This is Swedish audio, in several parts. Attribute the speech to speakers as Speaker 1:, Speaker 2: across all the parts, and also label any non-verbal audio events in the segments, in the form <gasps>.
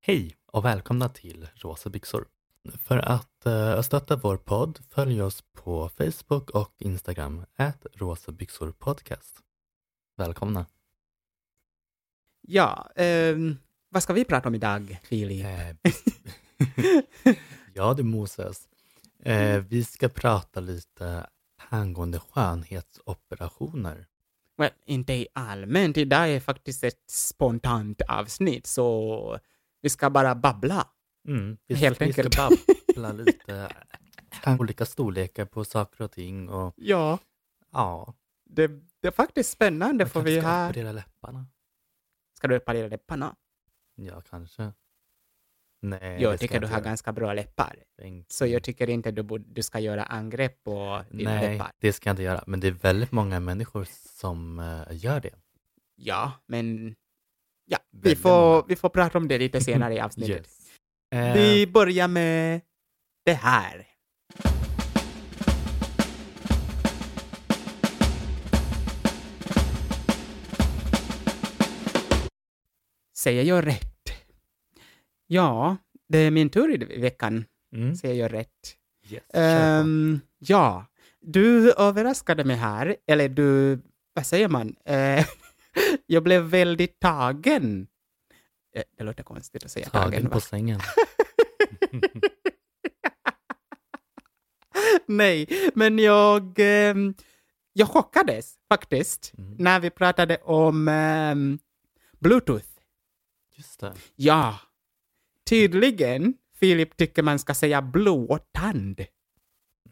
Speaker 1: Hej och välkomna till Rosa byxor. För att eh, stötta vår podd följ oss på Facebook och Instagram, ät rosa byxor podcast. Välkomna.
Speaker 2: Ja, ehm, vad ska vi prata om idag, Filip?
Speaker 1: Eh,
Speaker 2: <laughs>
Speaker 1: <laughs> ja du Moses, eh, vi ska prata lite angående skönhetsoperationer.
Speaker 2: Well, inte i allmänt. Idag är faktiskt ett spontant avsnitt, så vi ska bara babbla.
Speaker 1: Mm, vi,
Speaker 2: Helt
Speaker 1: vi
Speaker 2: enkelt.
Speaker 1: ska
Speaker 2: <laughs>
Speaker 1: babbla lite eh, olika storlekar på saker och ting och
Speaker 2: Ja,
Speaker 1: ja,
Speaker 2: det, det är faktiskt spännande,
Speaker 1: man
Speaker 2: för
Speaker 1: kanske
Speaker 2: vi
Speaker 1: ska
Speaker 2: har...
Speaker 1: operera läpparna.
Speaker 2: Ska du parera läpparna?
Speaker 1: Ja, kanske. Nej,
Speaker 2: jag
Speaker 1: det ska
Speaker 2: tycker du
Speaker 1: inte
Speaker 2: har
Speaker 1: göra.
Speaker 2: ganska bra läppar,
Speaker 1: Tänk-
Speaker 2: så jag tycker inte du, borde, du ska göra angrepp på dina
Speaker 1: Nej,
Speaker 2: läppar.
Speaker 1: det ska jag inte göra. Men det är väldigt många människor som eh, gör det.
Speaker 2: Ja, men... Ja, vi
Speaker 1: Väldigt
Speaker 2: får,
Speaker 1: många.
Speaker 2: vi får prata om det lite senare <laughs> i avsnittet.
Speaker 1: Eh,
Speaker 2: Vi börjar med det här. Säger jag rätt? Ja, det är min tur i veckan.
Speaker 1: mm,
Speaker 2: Säger jag rätt?
Speaker 1: yes, kör på.
Speaker 2: Ehm, ja, du överraskade mig här. Eller du, vad säger man? Eh, <laughs> jag blev väldigt tagen. Eh, Det låter konstigt att säga tagen.
Speaker 1: Tagen
Speaker 2: va?
Speaker 1: på sängen.
Speaker 2: <laughs> Nej, men jag, ehm, jag chockades faktiskt
Speaker 1: Mm.
Speaker 2: när vi pratade om ehm, Bluetooth.
Speaker 1: Just det.
Speaker 2: Ja, tydligen Filip tycker man ska säga blåtand.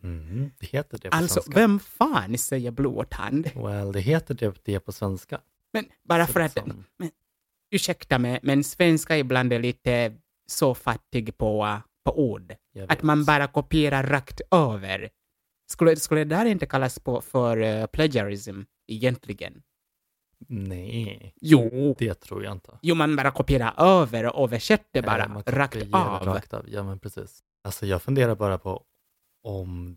Speaker 1: Mm, det heter det på
Speaker 2: Alltså,
Speaker 1: svenska.
Speaker 2: vem fan säger blåtand?
Speaker 1: Well, det heter det, det på svenska.
Speaker 2: Men bara
Speaker 1: Så
Speaker 2: för att,
Speaker 1: liksom.
Speaker 2: ursäkta mig, men svenska ibland är lite så fattig på, eh, på ord.
Speaker 1: Jag
Speaker 2: Att
Speaker 1: vet.
Speaker 2: man bara kopierar rakt över. Skulle, skulle det där inte kallas på, för eh, plagiarism egentligen?
Speaker 1: Nej,
Speaker 2: Jo.
Speaker 1: det tror jag inte.
Speaker 2: Jo, man bara kopierar över och översätter
Speaker 1: Eh,
Speaker 2: bara
Speaker 1: man
Speaker 2: rakt
Speaker 1: kopierar
Speaker 2: av.
Speaker 1: rakt av. Ja, men precis. Alltså jag funderar bara på om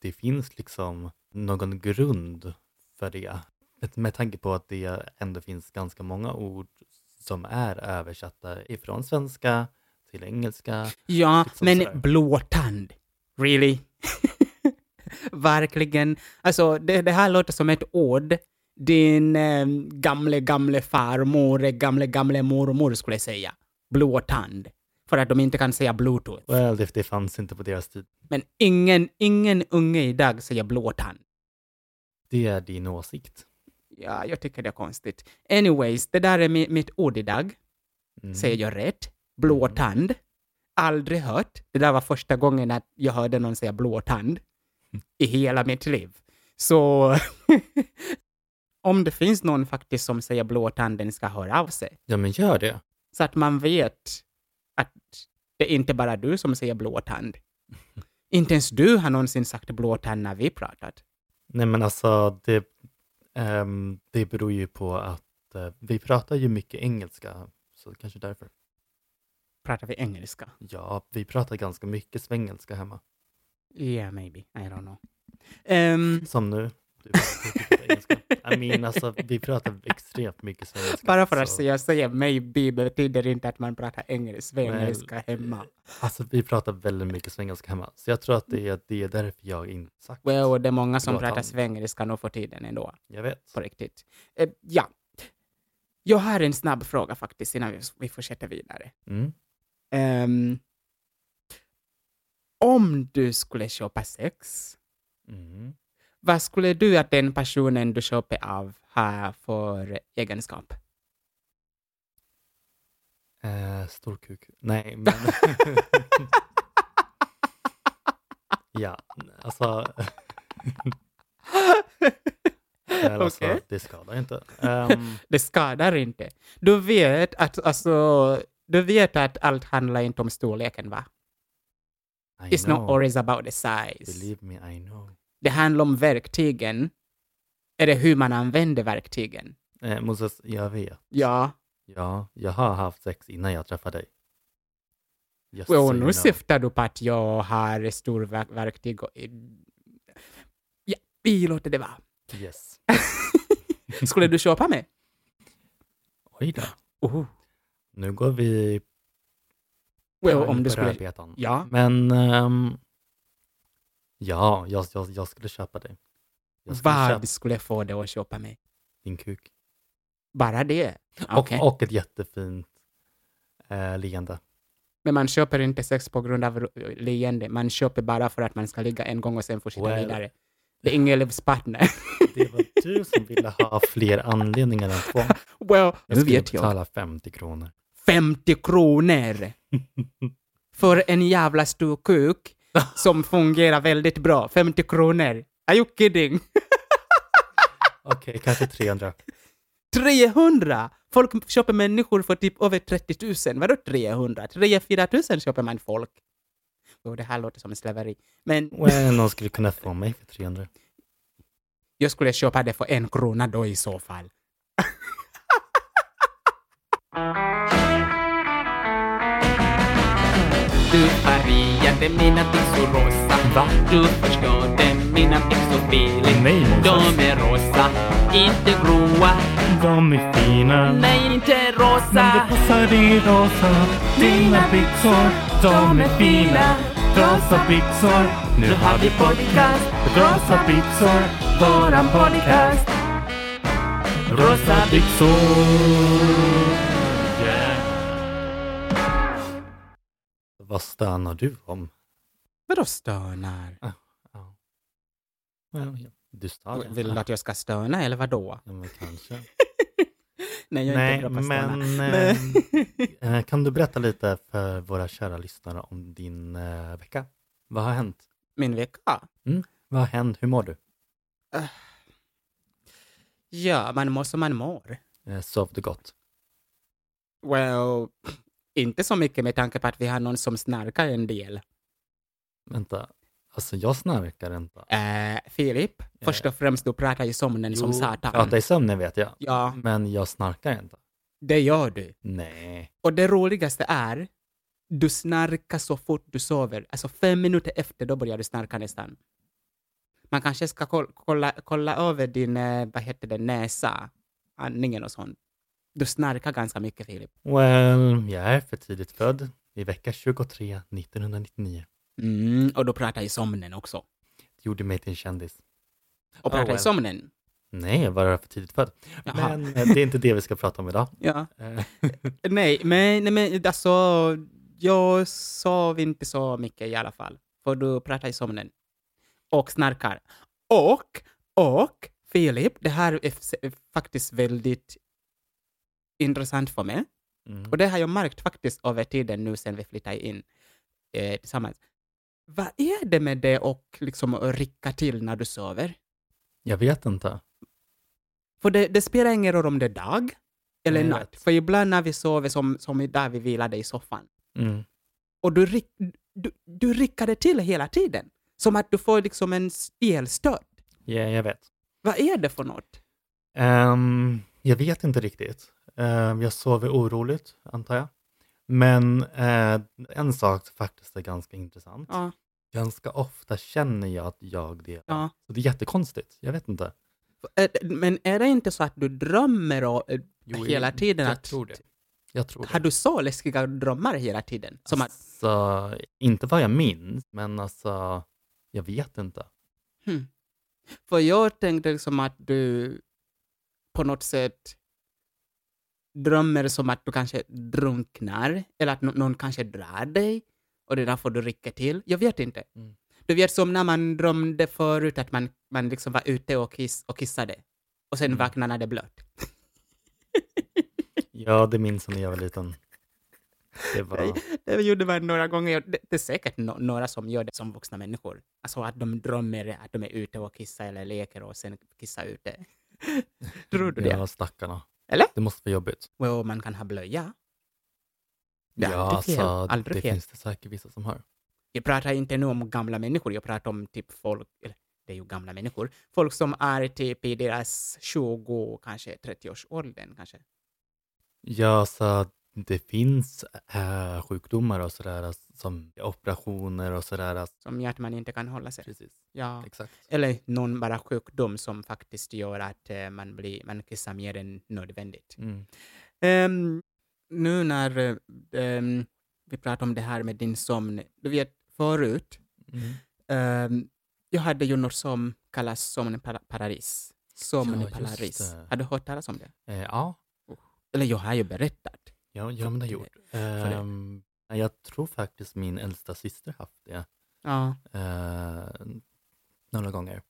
Speaker 1: det finns liksom någon grund för det. Med, med tanke på att det ändå finns ganska många ord som är översatta ifrån svenska till engelska.
Speaker 2: Ja,
Speaker 1: Liksom sådär.
Speaker 2: men blåtand. Really? <laughs> Verkligen. Alltså, det, det här låter som ett ord din eh, gamle, gamle farmor, gamle, gamle mormor skulle säga. Blåtand. För att de inte kan säga bluetooth.
Speaker 1: Well, det, det fanns inte på deras tid.
Speaker 2: Men ingen, ingen unge idag säger blåtand.
Speaker 1: Det är din åsikt.
Speaker 2: Ja, jag tycker det är konstigt. Anyways, det där är mi- mitt ord idag.
Speaker 1: Mm.
Speaker 2: säger jag rätt? Blåtand? Aldrig hört. Det där var första gången att jag hörde någon säga blåtand i hela mitt liv. Så <laughs> om det finns någon faktiskt som säger blåtanden ska höra av sig.
Speaker 1: Ja, men gör det.
Speaker 2: Så att man vet att det är inte bara du som säger blåtand. Inte ens du har någonsin sagt blåtand när vi pratat.
Speaker 1: Nej, men alltså det, ehm, det beror ju på att eh, vi pratar ju mycket engelska, så kanske därför.
Speaker 2: Pratar vi engelska?
Speaker 1: Ja, vi pratar ganska mycket svengelska hemma.
Speaker 2: Yeah, maybe. I don't know. Ehm,
Speaker 1: Som nu. Du pratar engelska. I mean, alltså, vi pratar extremt mycket svengelska.
Speaker 2: Bara för att
Speaker 1: så-
Speaker 2: jag säger maybe betyder inte att man pratar engelska, svengelska hemma.
Speaker 1: Alltså, vi pratar väldigt mycket svengelska hemma. Så jag tror att det är, det är därför jag inte sagt.
Speaker 2: Well, och det är många som
Speaker 1: Låt
Speaker 2: pratar
Speaker 1: han.
Speaker 2: svengelska nu för tiden ändå,
Speaker 1: jag vet.
Speaker 2: på riktigt. Eh, ja. Jag har en snabb fråga faktiskt innan vi, vi fortsätter vidare.
Speaker 1: Mm.
Speaker 2: Ehm, om du skulle köpa sex,
Speaker 1: Mm.
Speaker 2: vad skulle du att den personen du köper av har för egenskap?
Speaker 1: Eh, stor kuk. Nej,
Speaker 2: <laughs>
Speaker 1: men... <laughs> ja,
Speaker 2: <laughs>
Speaker 1: alltså... Eller
Speaker 2: Okej.
Speaker 1: alltså, det skadar inte. Ehm,
Speaker 2: Det skadar inte. Du vet att, alltså, du vet att allt handlar inte om storleken, va?
Speaker 1: I
Speaker 2: <laughs> It's
Speaker 1: know.
Speaker 2: not always about the size.
Speaker 1: Believe me, I know.
Speaker 2: Det handlar om verktygen. Eller hur man använder verktygen.
Speaker 1: Eh, Moses, jag vet.
Speaker 2: Ja,
Speaker 1: Ja, jag har haft sex innan jag träffade dig. Just so
Speaker 2: och
Speaker 1: you
Speaker 2: nu
Speaker 1: know.
Speaker 2: syftar du på att jag har stor verk- verktyg. Och, ja, vi låter det vara.
Speaker 1: Yes.
Speaker 2: Skulle
Speaker 1: <laughs>
Speaker 2: du köpa mig?
Speaker 1: Oj då.
Speaker 2: Oh,
Speaker 1: Nu går vi
Speaker 2: Och om du skulle...
Speaker 1: Rödbetan.
Speaker 2: Ja,
Speaker 1: Men ehm, ja, jag, jag, jag skulle köpa dig. Jag skulle köpa
Speaker 2: vad skulle jag få dig att köpa mig?
Speaker 1: din kuk.
Speaker 2: Bara det? Okej.
Speaker 1: Och, och ett jättefint eh, leende.
Speaker 2: Men man köper inte sex på grund av ro- leende. Man köper bara för att man ska ligga en gång och sen fortsätta
Speaker 1: Well.
Speaker 2: vidare. Det är ingen livspartner.
Speaker 1: Det var du
Speaker 2: <laughs>
Speaker 1: som ville ha fler anledningar än två.
Speaker 2: Well, <laughs> nu
Speaker 1: skulle
Speaker 2: vet jag.
Speaker 1: betala 50 kronor. <laughs>
Speaker 2: 50 kronor! för en jävla stor <laughs> kuk som fungerar väldigt bra. 50 kronor. Are you kidding? <laughs>
Speaker 1: Okej, kanske 300.
Speaker 2: 300! Folk köper människor för typ över 30 000. Vadå 300? 3-4 000 köper man folk. Och det här låter som slaveri. Men
Speaker 1: Well, någon skulle kunna få mig för 300.
Speaker 2: jag skulle köpa det för en krona då i så fall.
Speaker 3: Du färgade mina byxor rosa.
Speaker 1: Va?
Speaker 3: Du förstörde mina byxor billigt.
Speaker 1: Nej, Moses.
Speaker 3: De är rosa, inte gråa.
Speaker 1: De är fina.
Speaker 3: Nej, inte rosa.
Speaker 1: passar i rosa.
Speaker 3: Dina byxor, de är fina. Rosa
Speaker 1: byxor.
Speaker 3: Nu har vi podcast. Rosa
Speaker 1: byxor.
Speaker 3: Våran podcast. Rosa
Speaker 1: byxor. Vad stönar du om?
Speaker 2: Vadå stönar?
Speaker 1: Well, ja, Du stör
Speaker 2: Vill du
Speaker 1: Ja,
Speaker 2: att jag ska stöna eller vadå?
Speaker 1: men kanske.
Speaker 2: Nej, jag är
Speaker 1: Nej,
Speaker 2: inte bra på att stöna.
Speaker 1: men
Speaker 2: Nej. <laughs>
Speaker 1: eh, eh, kan du berätta lite för våra kära lyssnare om din eh, vecka? Vad har hänt?
Speaker 2: Min vecka?
Speaker 1: Vad har hänt? Hur mår du?
Speaker 2: Ja, man mår som man mår.
Speaker 1: Eh, sov du gott?
Speaker 2: Well, inte så mycket med tanke på att vi har någon som snarkar en del.
Speaker 1: Vänta, alltså jag snarkar inte.
Speaker 2: Eh, Filip, först och främst du pratar i sömnen som satan.
Speaker 1: Prata i sömnen vet jag.
Speaker 2: Ja,
Speaker 1: Men jag snarkar inte.
Speaker 2: det gör du.
Speaker 1: Nej.
Speaker 2: Och det roligaste är, du snarkar så fort du sover. Alltså fem minuter efter, då börjar du snarka nästan. Man kanske ska kol- kolla, kolla över din, eh, vad heter det, näsa, andningen och sånt. Du snarkar ganska mycket, Filip.
Speaker 1: Well, jag är för tidigt född. I vecka 23, 1999.
Speaker 2: Mm, och du pratar i sömnen också.
Speaker 1: Det gjorde mig till en kändis.
Speaker 2: Och pratar
Speaker 1: Oh, well.
Speaker 2: i sömnen.
Speaker 1: Nej, jag var för tidigt född.
Speaker 2: Jaha.
Speaker 1: Men eh, det är inte det vi ska prata om idag.
Speaker 2: Ja.
Speaker 1: Eh,
Speaker 2: Nej, men, nej, men alltså, jag sov inte så mycket i alla fall. För du pratar i sömnen. Och snarkar. Och, och, Filip, det här är f- är faktiskt väldigt intressant för mig.
Speaker 1: Mm.
Speaker 2: Och det har jag märkt faktiskt över tiden nu sen vi flyttade in eh, tillsammans. Vad är det med det och liksom att rycka till när du sover?
Speaker 1: Jag vet inte.
Speaker 2: För det, det spelar ingen roll om det är dag eller
Speaker 1: Nej, jag
Speaker 2: natt.
Speaker 1: vet.
Speaker 2: För ibland när vi sover, som, som idag, vi vilade i soffan.
Speaker 1: Mm.
Speaker 2: och du, rick, du, du rickade till hela tiden. Som att du får liksom en s- elstöt.
Speaker 1: Ja, jag vet.
Speaker 2: Vad är det för något?
Speaker 1: Ehm, jag vet inte riktigt. Ehm, jag sover oroligt, antar jag. Men eh, en sak som faktiskt är ganska intressant.
Speaker 2: Ja,
Speaker 1: Ganska ofta känner jag att jag det.
Speaker 2: ja.
Speaker 1: Så det är jättekonstigt. Jag vet inte.
Speaker 2: Eh, Men är det inte så att du drömmer och, eh, hela tiden?
Speaker 1: Jag
Speaker 2: att,
Speaker 1: tror det. Jag tror det.
Speaker 2: Har du så läskiga drömmar hela tiden? Som att,
Speaker 1: Alltså, inte vad jag minns, men alltså, jag vet inte.
Speaker 2: för jag tänkte liksom att du på något sätt drömmer som att du kanske drunknar eller att nå- någon kanske drar dig och det är därför du rycker till. Jag vet inte.
Speaker 1: Mm.
Speaker 2: Du vet som när man drömde förut att man, man liksom var ute och, kiss, och kissade och sen
Speaker 1: Mm.
Speaker 2: vaknade när det är blött. <laughs>
Speaker 1: Ja, det minns jag när jag var liten. Det var...
Speaker 2: Det gjorde man några gånger. Det, det är säkert no, några som gör det som vuxna människor. Alltså att de drömmer att de är ute och kissar eller leker och sen kissar ute. <laughs> Tror du det?
Speaker 1: Ja, stackarna.
Speaker 2: Eller?
Speaker 1: Det måste vara jobbigt.
Speaker 2: Well, man kan ha blöja. Det är
Speaker 1: Ja,
Speaker 2: aldrig fel.
Speaker 1: alltså,
Speaker 2: Aldrig
Speaker 1: det
Speaker 2: fel.
Speaker 1: finns det säkert vissa som har.
Speaker 2: Jag pratar inte nu om gamla människor, jag pratar om typ folk, eller det är ju gamla människor, folk som är typ i deras 20, kanske 30-årsåldern kanske.
Speaker 1: Ja, så det finns eh, sjukdomar och sådär, alltså, som operationer och sådär. alltså,
Speaker 2: Som gör att man inte kan hålla sig.
Speaker 1: Precis,
Speaker 2: Ja.
Speaker 1: exakt.
Speaker 2: Eller någon bara sjukdom som faktiskt gör att eh, man, blir, man kissar mer än nödvändigt.
Speaker 1: Mm.
Speaker 2: Ehm, nu när eh, ehm, vi pratade om det här med din sömn. Du vet, förut,
Speaker 1: Mm.
Speaker 2: ehm, jag hade ju något som kallas sömn i para- paradis. Sömn
Speaker 1: Ja,
Speaker 2: i
Speaker 1: just
Speaker 2: paradis.
Speaker 1: det.
Speaker 2: Har du hört talas om det?
Speaker 1: Eh, ja,
Speaker 2: Eller jag har ju berättat.
Speaker 1: ja, ja, men det har jag gjort.
Speaker 2: det-
Speaker 1: Ehm, jag tror faktiskt min äldsta syster haft det
Speaker 2: Ja.
Speaker 1: eh, några gånger.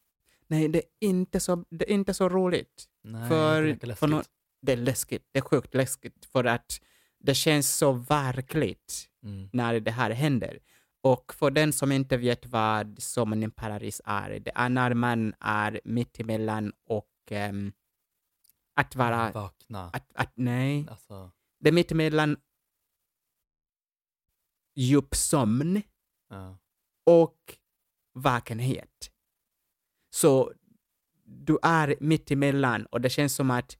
Speaker 2: Nej, det är inte så, det är inte så roligt.
Speaker 1: Nej,
Speaker 2: För-
Speaker 1: det verkar
Speaker 2: för nå-
Speaker 1: läskigt.
Speaker 2: Det är läskigt. Det är sjukt läskigt för att det känns så verkligt
Speaker 1: Mm.
Speaker 2: när det här händer. Och för den som inte vet vad sommaren i Paris är, det är när man är mittemellan och ehm, att vara...
Speaker 1: Vakna.
Speaker 2: Att, att, nej,
Speaker 1: Alltså,
Speaker 2: det är mittemellan djup sömn
Speaker 1: ja.
Speaker 2: och vakenhet. Så du är mitt emellan och det känns som att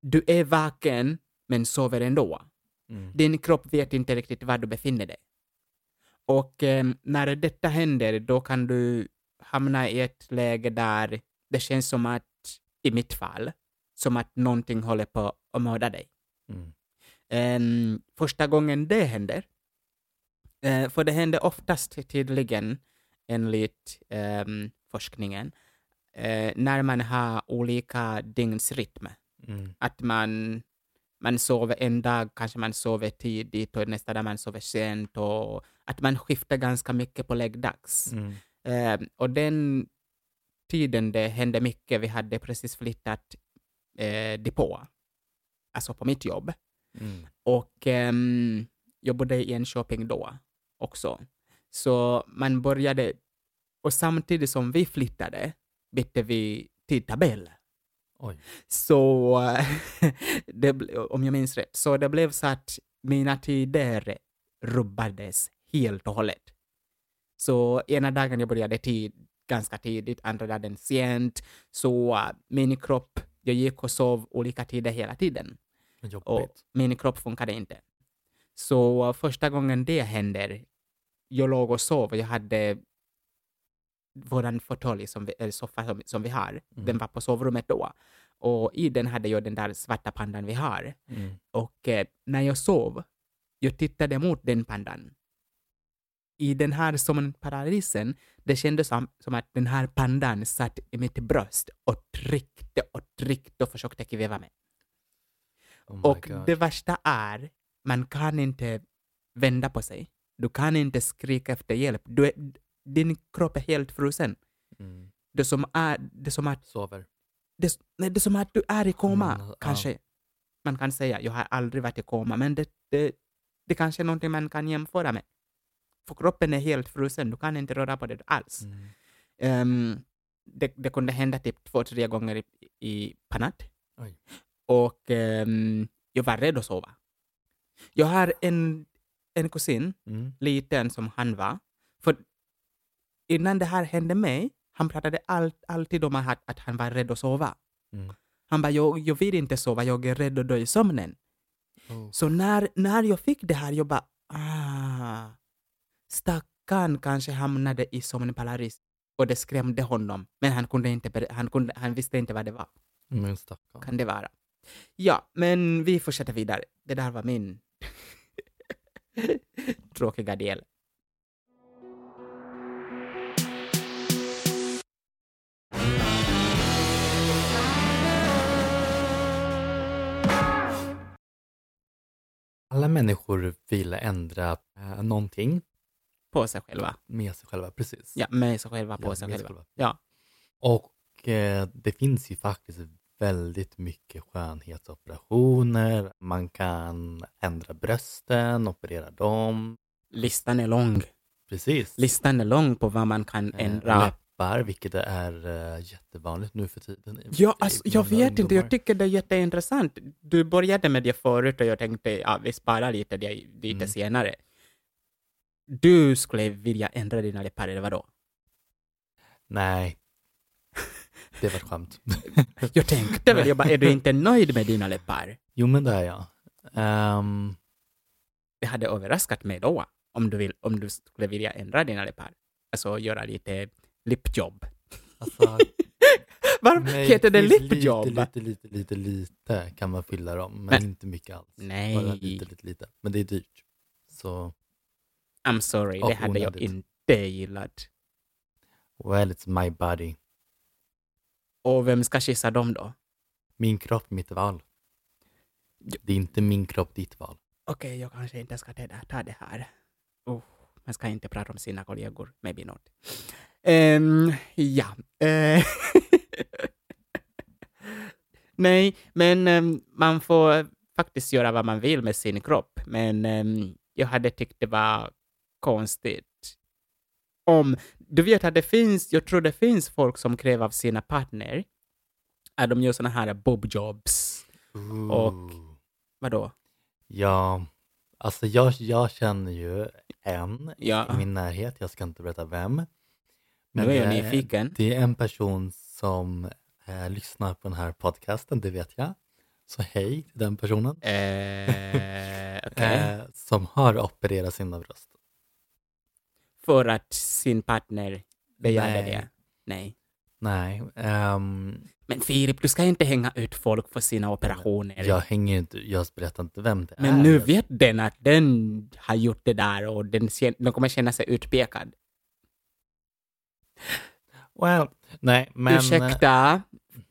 Speaker 2: du är vaken men sover ändå.
Speaker 1: mm.
Speaker 2: Din kropp vet inte riktigt var du befinner dig. Och em, när detta händer då kan du hamna i ett läge där det känns som att, i mitt fall, som att någonting håller på att mörda dig.
Speaker 1: Mm.
Speaker 2: Em, Ehm, första gången det händer. Eh, för det händer oftast tydligen, enligt um, forskningen, eh, när man har olika dygnsrytmer.
Speaker 1: Mm.
Speaker 2: Att man, man sover en dag, kanske man sover tidigt och nästa dag man sover sent. Och att man skiftar ganska mycket på läggdags.
Speaker 1: Mm.
Speaker 2: Ehm, och den tiden det hände mycket, vi hade precis flyttat eh, depå, alltså på mitt jobb.
Speaker 1: Mm.
Speaker 2: Och ehm, jag bodde i Enköping då också. Så man började, och samtidigt som vi flyttade bytte vi tidtabell.
Speaker 1: Oj.
Speaker 2: Så, <laughs> det, ble- om jag minns rätt, så det blev så att mina tider rubbades helt och hållet. Så ena dagen jag började tid, ganska tidigt, andra dagen sent. Så eh, min kropp, jag gick och sov olika tider hela tiden
Speaker 1: Vad jobbigt.
Speaker 2: och min kropp funkade inte. Så eh, första gången det händer, jag låg och sov och jag hade vår fåtölj, som vi- eller soffa som, som vi har, den var på sovrummet då. Och i den hade jag den där svarta pandan vi har.
Speaker 1: Mm.
Speaker 2: Och eh, när jag sov, jag tittade mot den pandan. I den här sommarparalysen, det kändes som, som att den här pandan satt i mitt bröst och tryckte och tryckte och försökte kväva mig.
Speaker 1: Oh my
Speaker 2: Och
Speaker 1: God.
Speaker 2: det värsta är, man kan inte vända på sig. Du kan inte skrika efter hjälp. Du är, din kropp är helt frusen.
Speaker 1: Mm.
Speaker 2: Det som är, det som att,
Speaker 1: Sover.
Speaker 2: det, nej, det som att du är i koma,
Speaker 1: Mm, ja.
Speaker 2: kanske. Man kan säga, jag har aldrig varit i koma, men det, det, det kanske är någonting man kan jämföra med. För kroppen är helt frusen, du kan inte röra på det alls.
Speaker 1: Mm.
Speaker 2: Ehm, det, det kunde hända typ två, tre gånger i, i per natt.
Speaker 1: Oj.
Speaker 2: Och ehm, jag var rädd att sova. Jag har en, en kusin,
Speaker 1: Mm.
Speaker 2: liten som han var. För innan det här hände mig, han pratade all, alltid om att, att han var rädd att sova.
Speaker 1: Mm.
Speaker 2: Han bara, jag, jag vill inte sova, jag är rädd att dö i sömnen.
Speaker 1: Oh.
Speaker 2: Så när, när jag fick det här, jag bara, ah, stackarn kanske hamnade i sömnparalys. Och det skrämde honom, men han, kunde inte, ber- han, kunde, han visste inte vad det var.
Speaker 1: Men stackarn.
Speaker 2: Kan det vara. Ja, men vi fortsätter vidare. Det där var min <laughs> tråkiga del.
Speaker 1: Alla människor vill ändra eh, någonting
Speaker 2: På sig själva.
Speaker 1: med sig själva, precis.
Speaker 2: Ja, med sig själva, på
Speaker 1: Ja,
Speaker 2: sig
Speaker 1: med
Speaker 2: själva. Ja.
Speaker 1: Och eh, det finns ju faktiskt väldigt mycket skönhetsoperationer. Man kan ändra brösten, operera dem.
Speaker 2: Listan är lång.
Speaker 1: Precis.
Speaker 2: Listan är lång på vad man kan
Speaker 1: Eh,
Speaker 2: ändra.
Speaker 1: Läppar, vilket är eh, jättevanligt nu för tiden. i-
Speaker 2: Ja,
Speaker 1: i
Speaker 2: alltså, jag
Speaker 1: många
Speaker 2: vet inte.
Speaker 1: Typ,
Speaker 2: Jag
Speaker 1: ungdomar.
Speaker 2: tycker det är jätteintressant. Du började med det förut och jag tänkte ja, vi sparar lite det lite
Speaker 1: Mm.
Speaker 2: senare. Du skulle vilja ändra dina läppar, eller
Speaker 1: <laughs>
Speaker 2: vadå? <laughs>
Speaker 1: Nej. Det var ett skämt.
Speaker 2: Jag tänkte väl, jag bara, är du inte nöjd med dina läppar?
Speaker 1: Jo, men det är jag. Ehm,
Speaker 2: Det hade överraskat mig då, om du, vill, om du skulle vilja ändra dina läppar. Alltså göra lite lipjobb.
Speaker 1: alltså,
Speaker 2: <laughs> Varför <laughs>
Speaker 1: Nej,
Speaker 2: heter det
Speaker 1: precis.
Speaker 2: lipjobb?
Speaker 1: Lite, lite, lite, lite, lite kan man fylla dem, men,
Speaker 2: Men-
Speaker 1: inte mycket alls. Bara
Speaker 2: Nej.
Speaker 1: lite, lite, lite. Men det är dyrt. Så,
Speaker 2: I'm sorry,
Speaker 1: Och
Speaker 2: det hade jag
Speaker 1: onödigt.
Speaker 2: inte gillat.
Speaker 1: well it's my body.
Speaker 2: Och vem ska kyssa dem då?
Speaker 1: Min kropp, mitt val.
Speaker 2: Ja.
Speaker 1: Det är inte min kropp, ditt val.
Speaker 2: Okej, jag kanske inte ska ta det- ta det här. Oh, man ska inte prata om sina kollegor, maybe not. Ehm, ja. eh. <laughs> Nej, men ehm, man får faktiskt göra vad man vill med sin kropp. Men ehm, jag hade tyckt det var konstigt. Om, du vet att det finns, jag tror det finns folk som kräver av sina partner att de gör såna här bobjobs. Och-
Speaker 1: Ooh.
Speaker 2: Vadå?
Speaker 1: Ja, alltså jag, jag känner ju en
Speaker 2: Ja,
Speaker 1: i min närhet, jag ska inte berätta vem.
Speaker 2: nu är jag
Speaker 1: det
Speaker 2: nyfiken.
Speaker 1: Det är en person som eh, lyssnar på den här podcasten, det vet jag. Så hej till den personen. <laughs>
Speaker 2: Eh, Okej.
Speaker 1: Eh, som har opererat sina bröst.
Speaker 2: För att sin partner begärde
Speaker 1: Nej.
Speaker 2: det. Nej.
Speaker 1: Nej, ehm,
Speaker 2: Men Filip, du ska inte hänga ut folk för sina operationer.
Speaker 1: jag hänger ju inte, jag berättar inte vem det är.
Speaker 2: Men nu vet den att den har gjort det där och den, kän- den kommer känna sig utpekad.
Speaker 1: Well, nej, men... eh,
Speaker 2: Ursäkta,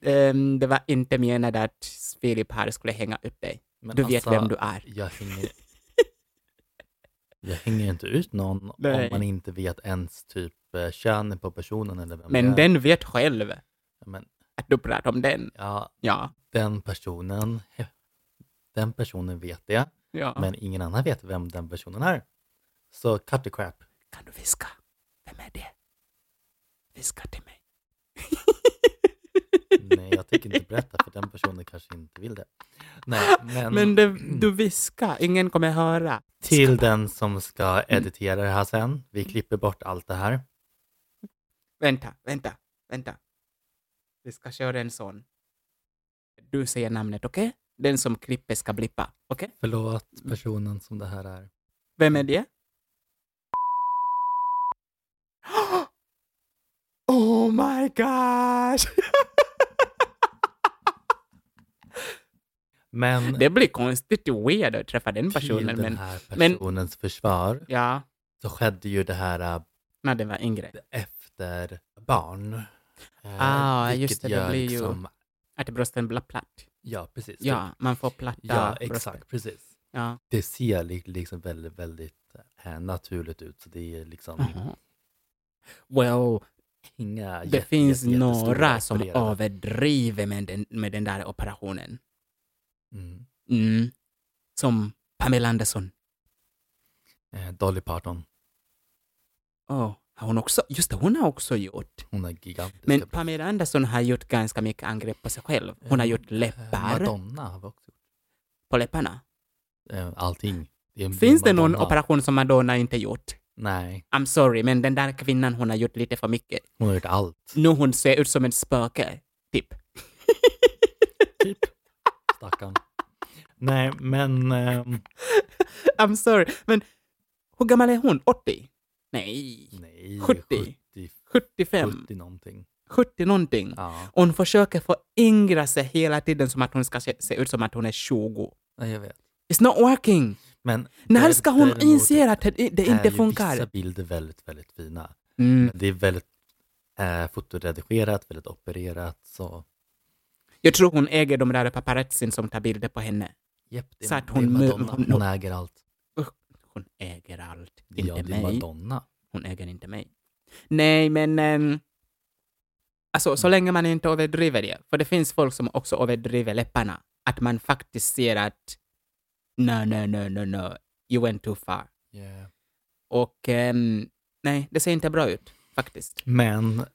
Speaker 2: ehm, det var inte menat att Filip här skulle hänga upp dig.
Speaker 1: men
Speaker 2: Du vet
Speaker 1: alltså,
Speaker 2: vem du är.
Speaker 1: Jag
Speaker 2: <laughs>
Speaker 1: hänger, jag hänger inte ut någon
Speaker 2: Nej.
Speaker 1: om man inte vet ens typ eh, könet på personen eller vem
Speaker 2: Men
Speaker 1: det är.
Speaker 2: den vet själv
Speaker 1: Men,
Speaker 2: att du pratar om den.
Speaker 1: ja,
Speaker 2: Ja.
Speaker 1: den personen, den personen vet det,
Speaker 2: ja.
Speaker 1: men ingen annan vet vem den personen är. Så cut the
Speaker 2: <laughs>
Speaker 1: crap.
Speaker 2: Kan du viska? Vem är det? Viska till mig.
Speaker 1: Nej, jag tänker inte berätta för den personen kanske inte vill det. Nej, men,
Speaker 2: Men det,
Speaker 1: mm.
Speaker 2: du viskar, ingen kommer höra.
Speaker 1: till den som ska editera det här sen. Vi klipper bort allt det här.
Speaker 2: Vänta, vänta, vänta. Vi ska köra en sån. Du säger namnet, okej? Den som klipper ska blippa, okej?
Speaker 1: Förlåt personen som det här är.
Speaker 2: Vem är det? <gasps> Oh my gosh! <laughs>
Speaker 1: Men
Speaker 2: Det blir konstigt weird att träffa den
Speaker 1: till
Speaker 2: personen,
Speaker 1: den
Speaker 2: men
Speaker 1: här
Speaker 2: men-
Speaker 1: personens försvar
Speaker 2: ja,
Speaker 1: så skedde ju det här äh,
Speaker 2: när den var yngre.
Speaker 1: efter barn. Eh,
Speaker 2: Ah,
Speaker 1: vilket
Speaker 2: just det, det
Speaker 1: gör
Speaker 2: blir ju-
Speaker 1: liksom-
Speaker 2: Att brösten blir platt.
Speaker 1: Ja, precis. typ.
Speaker 2: Ja, man får platta
Speaker 1: ja
Speaker 2: brösten.
Speaker 1: exakt. Precis.
Speaker 2: Ja.
Speaker 1: Det ser li- liksom väldigt, väldigt eh, naturligt ut. Så det är liksom
Speaker 2: Jaha. Well,
Speaker 1: inga
Speaker 2: Mhm. Det
Speaker 1: jätte-
Speaker 2: finns
Speaker 1: jätte- jättestora
Speaker 2: några som
Speaker 1: opererade.
Speaker 2: överdriver med den, med den där operationen.
Speaker 1: Mm.
Speaker 2: Mm. Som Pamela Anderson.
Speaker 1: Eh, Dolly Parton,
Speaker 2: Oh, har hon också, just det, hon har också gjort.
Speaker 1: hon är gigantisk.
Speaker 2: Men Pamela Anderson har gjort ganska mycket angrepp på sig själv. Hon har
Speaker 1: Eh,
Speaker 2: gjort läppar
Speaker 1: Madonna har vi också gjort.
Speaker 2: på läpparna.
Speaker 1: Eh, Allting. är en
Speaker 2: Finns det någon
Speaker 1: Madonna.
Speaker 2: operation som Madonna inte gjort?
Speaker 1: Nej,
Speaker 2: I'm sorry, men den där kvinnan hon har gjort lite för mycket.
Speaker 1: hon har gjort allt.
Speaker 2: Nu hon ser ut som ett spöke, <laughs> typ.
Speaker 1: Typ. Stackarn. <laughs> Nej, men... ehm,
Speaker 2: I'm sorry, men hur gammal är hon? 80? Nej,
Speaker 1: nej,
Speaker 2: 70.
Speaker 1: 70,
Speaker 2: 75?
Speaker 1: 70 någonting.
Speaker 2: 70 någonting.
Speaker 1: Ja,
Speaker 2: Hon försöker föryngra sig hela tiden som att hon ska se, se ut som att hon är 20.
Speaker 1: nej, jag vet.
Speaker 2: It's not working!
Speaker 1: Men
Speaker 2: När
Speaker 1: där-
Speaker 2: ska hon
Speaker 1: däremot
Speaker 2: inse att det, det
Speaker 1: är
Speaker 2: inte
Speaker 1: ju
Speaker 2: funkar?
Speaker 1: Vissa bilder väldigt, väldigt fina.
Speaker 2: Mm.
Speaker 1: Men det är väldigt eh, fotoredigerat, väldigt opererat. Så,
Speaker 2: Jag tror hon äger de där paparazzin som tar bilder på henne.
Speaker 1: Japp, det, är-
Speaker 2: Så att
Speaker 1: det är
Speaker 2: hon-
Speaker 1: Madonna.
Speaker 2: hon-
Speaker 1: Hon, äger allt.
Speaker 2: Hon äger allt.
Speaker 1: Det är-
Speaker 2: Inte
Speaker 1: ja, det är
Speaker 2: mig.
Speaker 1: Madonna.
Speaker 2: Hon äger inte mig. Nej, men... ehm, alltså, så länge man inte överdriver det. För det finns folk som också överdriver läpparna. Att man faktiskt ser att... No, no, no, no, no. You went too far. Och ehm, nej, det ser inte bra ut faktiskt.
Speaker 1: Men,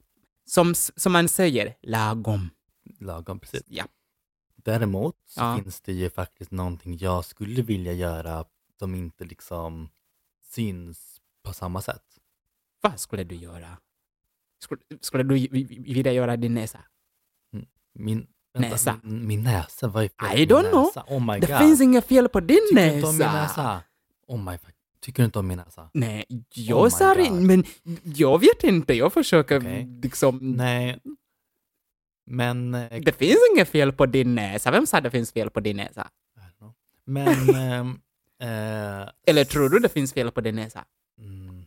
Speaker 2: Som, som man säger, lagom.
Speaker 1: lagom precis.
Speaker 2: Ja.
Speaker 1: Däremot så
Speaker 2: Ja.
Speaker 1: finns det ju faktiskt någonting jag skulle vilja göra som inte liksom syns på samma sätt.
Speaker 2: Vad skulle du göra? Skulle, skulle du vi- vi- vilja göra din näsa?
Speaker 1: Min vänta,
Speaker 2: Näsa.
Speaker 1: Min, min näsa, vad är fel på
Speaker 2: I
Speaker 1: min
Speaker 2: don't know.
Speaker 1: näsa? Oh my
Speaker 2: det
Speaker 1: god.
Speaker 2: finns inget fel på din
Speaker 1: Tycker du inte
Speaker 2: näsa.
Speaker 1: om min näsa? Oh my fuck. Tycker du inte om min näsa?
Speaker 2: Nej,
Speaker 1: Oh my
Speaker 2: jag sa det,
Speaker 1: God.
Speaker 2: men jag vet inte. Jag försöker
Speaker 1: Okej.
Speaker 2: liksom...
Speaker 1: Nej. Men... eh, I
Speaker 2: Det finns inget fel på din näsa. Vem sa det finns fel på din näsa? <laughs>
Speaker 1: don't know. Men... ehm, Eh,
Speaker 2: Eller tror du det finns fel på din näsa?
Speaker 1: Mm.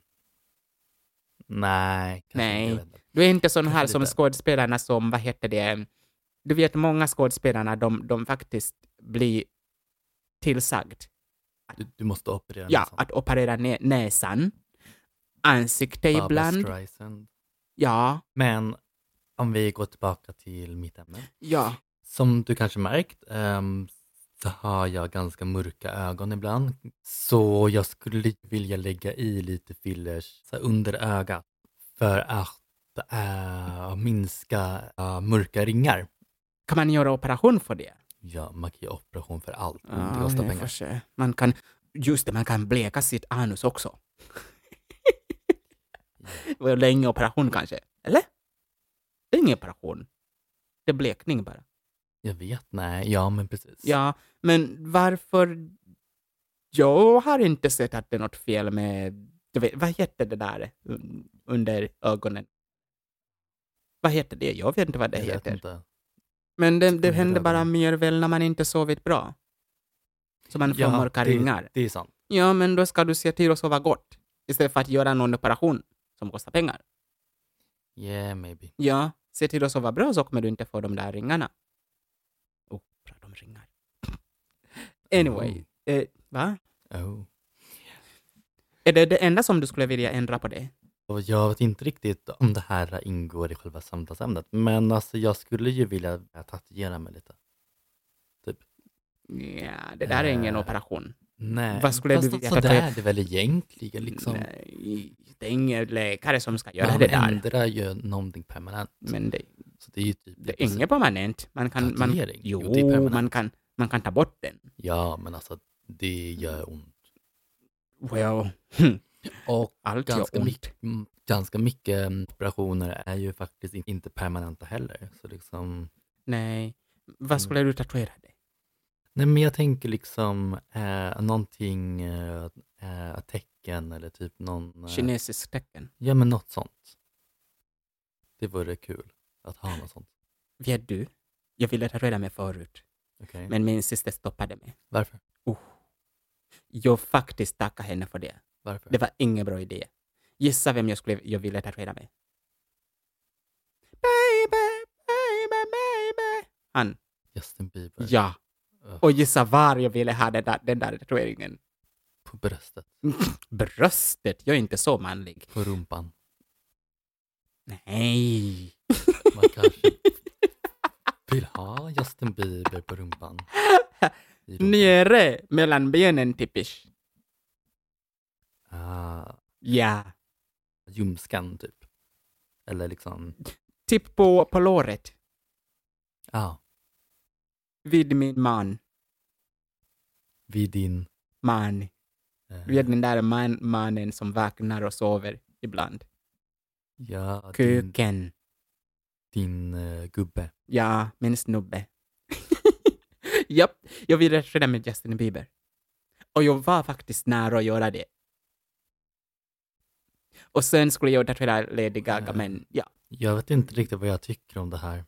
Speaker 1: Nej. kanske inte,
Speaker 2: Nej.
Speaker 1: jag vet inte.
Speaker 2: Du är inte sån här
Speaker 1: Kanske
Speaker 2: som
Speaker 1: lite.
Speaker 2: skådespelarna som, vad heter det, du vet många skådespelarna, de, de faktiskt blir tillsagd
Speaker 1: Du, du måste operera
Speaker 2: ja,
Speaker 1: näsan.
Speaker 2: att operera nä- näsan, ansikte
Speaker 1: Barbra
Speaker 2: ibland.
Speaker 1: Streisand.
Speaker 2: Ja,
Speaker 1: Men om vi går tillbaka till mitt ämne.
Speaker 2: ja,
Speaker 1: Som du kanske märkt ehm, så har jag ganska mörka ögon ibland. Så jag skulle vilja lägga i lite fillers så här, under ögat för att eh, minska eh, mörka ringar.
Speaker 2: kan man göra operation för det?
Speaker 1: Ja, man kan göra operation för allt.
Speaker 2: Ja,
Speaker 1: det kostar
Speaker 2: Ah, jag
Speaker 1: pengar.
Speaker 2: får se. Man kan, just det, man kan bleka sitt anus också.
Speaker 1: <laughs>
Speaker 2: det var länge operation kanske, eller? Det är ingen operation. Det är blekning bara.
Speaker 1: Jag vet, nej. Ja, men precis.
Speaker 2: Ja, men varför? Jag har inte sett att det är något fel med, du vet, vad heter det där un- under ögonen? Vad heter det? Jag vet inte vad det
Speaker 1: jag vet
Speaker 2: heter.
Speaker 1: inte.
Speaker 2: Men det, det
Speaker 1: Under
Speaker 2: händer bara
Speaker 1: ögonen.
Speaker 2: mer väl när man inte sovit bra. Så man får
Speaker 1: Ja,
Speaker 2: mörka
Speaker 1: det,
Speaker 2: ringar.
Speaker 1: Det är sant.
Speaker 2: Ja, men då ska du se till att sova gott istället för att göra någon operation som kostar pengar.
Speaker 1: Yeah, maybe.
Speaker 2: Ja, se till att sova bra så kommer du inte få de där ringarna. Oh, prata om ringar. <laughs> Anyway, eh, va?
Speaker 1: Oh.
Speaker 2: Är det det enda som du skulle vilja ändra på det?
Speaker 1: Och jag vet inte riktigt om det här ingår i själva samtalsämnet, men alltså jag skulle ju vilja tatuera mig lite.
Speaker 2: Ja, det där är ingen
Speaker 1: Eh,
Speaker 2: operation.
Speaker 1: Nej,
Speaker 2: Vad skulle du
Speaker 1: fast
Speaker 2: vilja
Speaker 1: så där
Speaker 2: tatuera?
Speaker 1: är det väl egentligen liksom.
Speaker 2: Nej, det är ingen läkare som ska göra
Speaker 1: Man
Speaker 2: det där.
Speaker 1: ändrar ju någonting permanent.
Speaker 2: Men det,
Speaker 1: Så det är ju typ
Speaker 2: det är inget permanent. Man kan, man,
Speaker 1: tatuering.
Speaker 2: jo,
Speaker 1: det är permanent.
Speaker 2: man kan, man kan ta bort den.
Speaker 1: Ja, men alltså det
Speaker 2: Mm.
Speaker 1: gör ont.
Speaker 2: Well,
Speaker 1: Och
Speaker 2: allt
Speaker 1: ganska
Speaker 2: gör ont.
Speaker 1: mycket, Mm, ganska mycket mm, operationer är ju faktiskt in- inte permanenta heller. Så liksom,
Speaker 2: Nej. Vad skulle du tatuera dig?
Speaker 1: nej men jag tänker liksom eh, någonting, eh, eh, tecken eller typ någon... Eh,
Speaker 2: Kinesiskt tecken.
Speaker 1: Ja, men något sånt. Det vore kul att ha något sånt.
Speaker 2: Vet du? Jag ville tatuera mig förut,
Speaker 1: Okej.
Speaker 2: men min syster stoppade mig.
Speaker 1: Varför?
Speaker 2: Jag faktiskt tackar henne för det.
Speaker 1: Varför?
Speaker 2: Det var ingen bra idé. Gissa vem jag, skulle, jag ville tatuera mig? Baby, baby, baby. Han.
Speaker 1: Justin Bieber
Speaker 2: Ja.
Speaker 1: Ugh.
Speaker 2: Och gissa var jag ville ha den där, den där tatueringen.
Speaker 1: på bröstet,
Speaker 2: Bröstet. Jag är inte så manlig.
Speaker 1: på rumpan.
Speaker 2: Nej.
Speaker 1: Man kanske vill ha Justin Bieber på
Speaker 2: <laughs>
Speaker 1: rumpan. I rumpan.
Speaker 2: Nere mellan benen typiskt.
Speaker 1: Ah,
Speaker 2: Ja.
Speaker 1: ljumsken typ. Eller liksom,
Speaker 2: Typ på, på låret.
Speaker 1: ja, ah,
Speaker 2: Vid min man.
Speaker 1: vid din...
Speaker 2: Man.
Speaker 1: Eh,
Speaker 2: Du vet den där man, mannen som vaknar och sover ibland.
Speaker 1: ja, din,
Speaker 2: Kuken.
Speaker 1: din eh, gubbe.
Speaker 2: Ja, min snubbe. <laughs> Japp, jag vill rösta med Justin Bieber. Och jag var faktiskt nära att göra det. Och sen skulle jag tatuera Lady Gaga,
Speaker 1: Mm.
Speaker 2: men ja,
Speaker 1: Jag vet inte riktigt vad jag tycker om det här.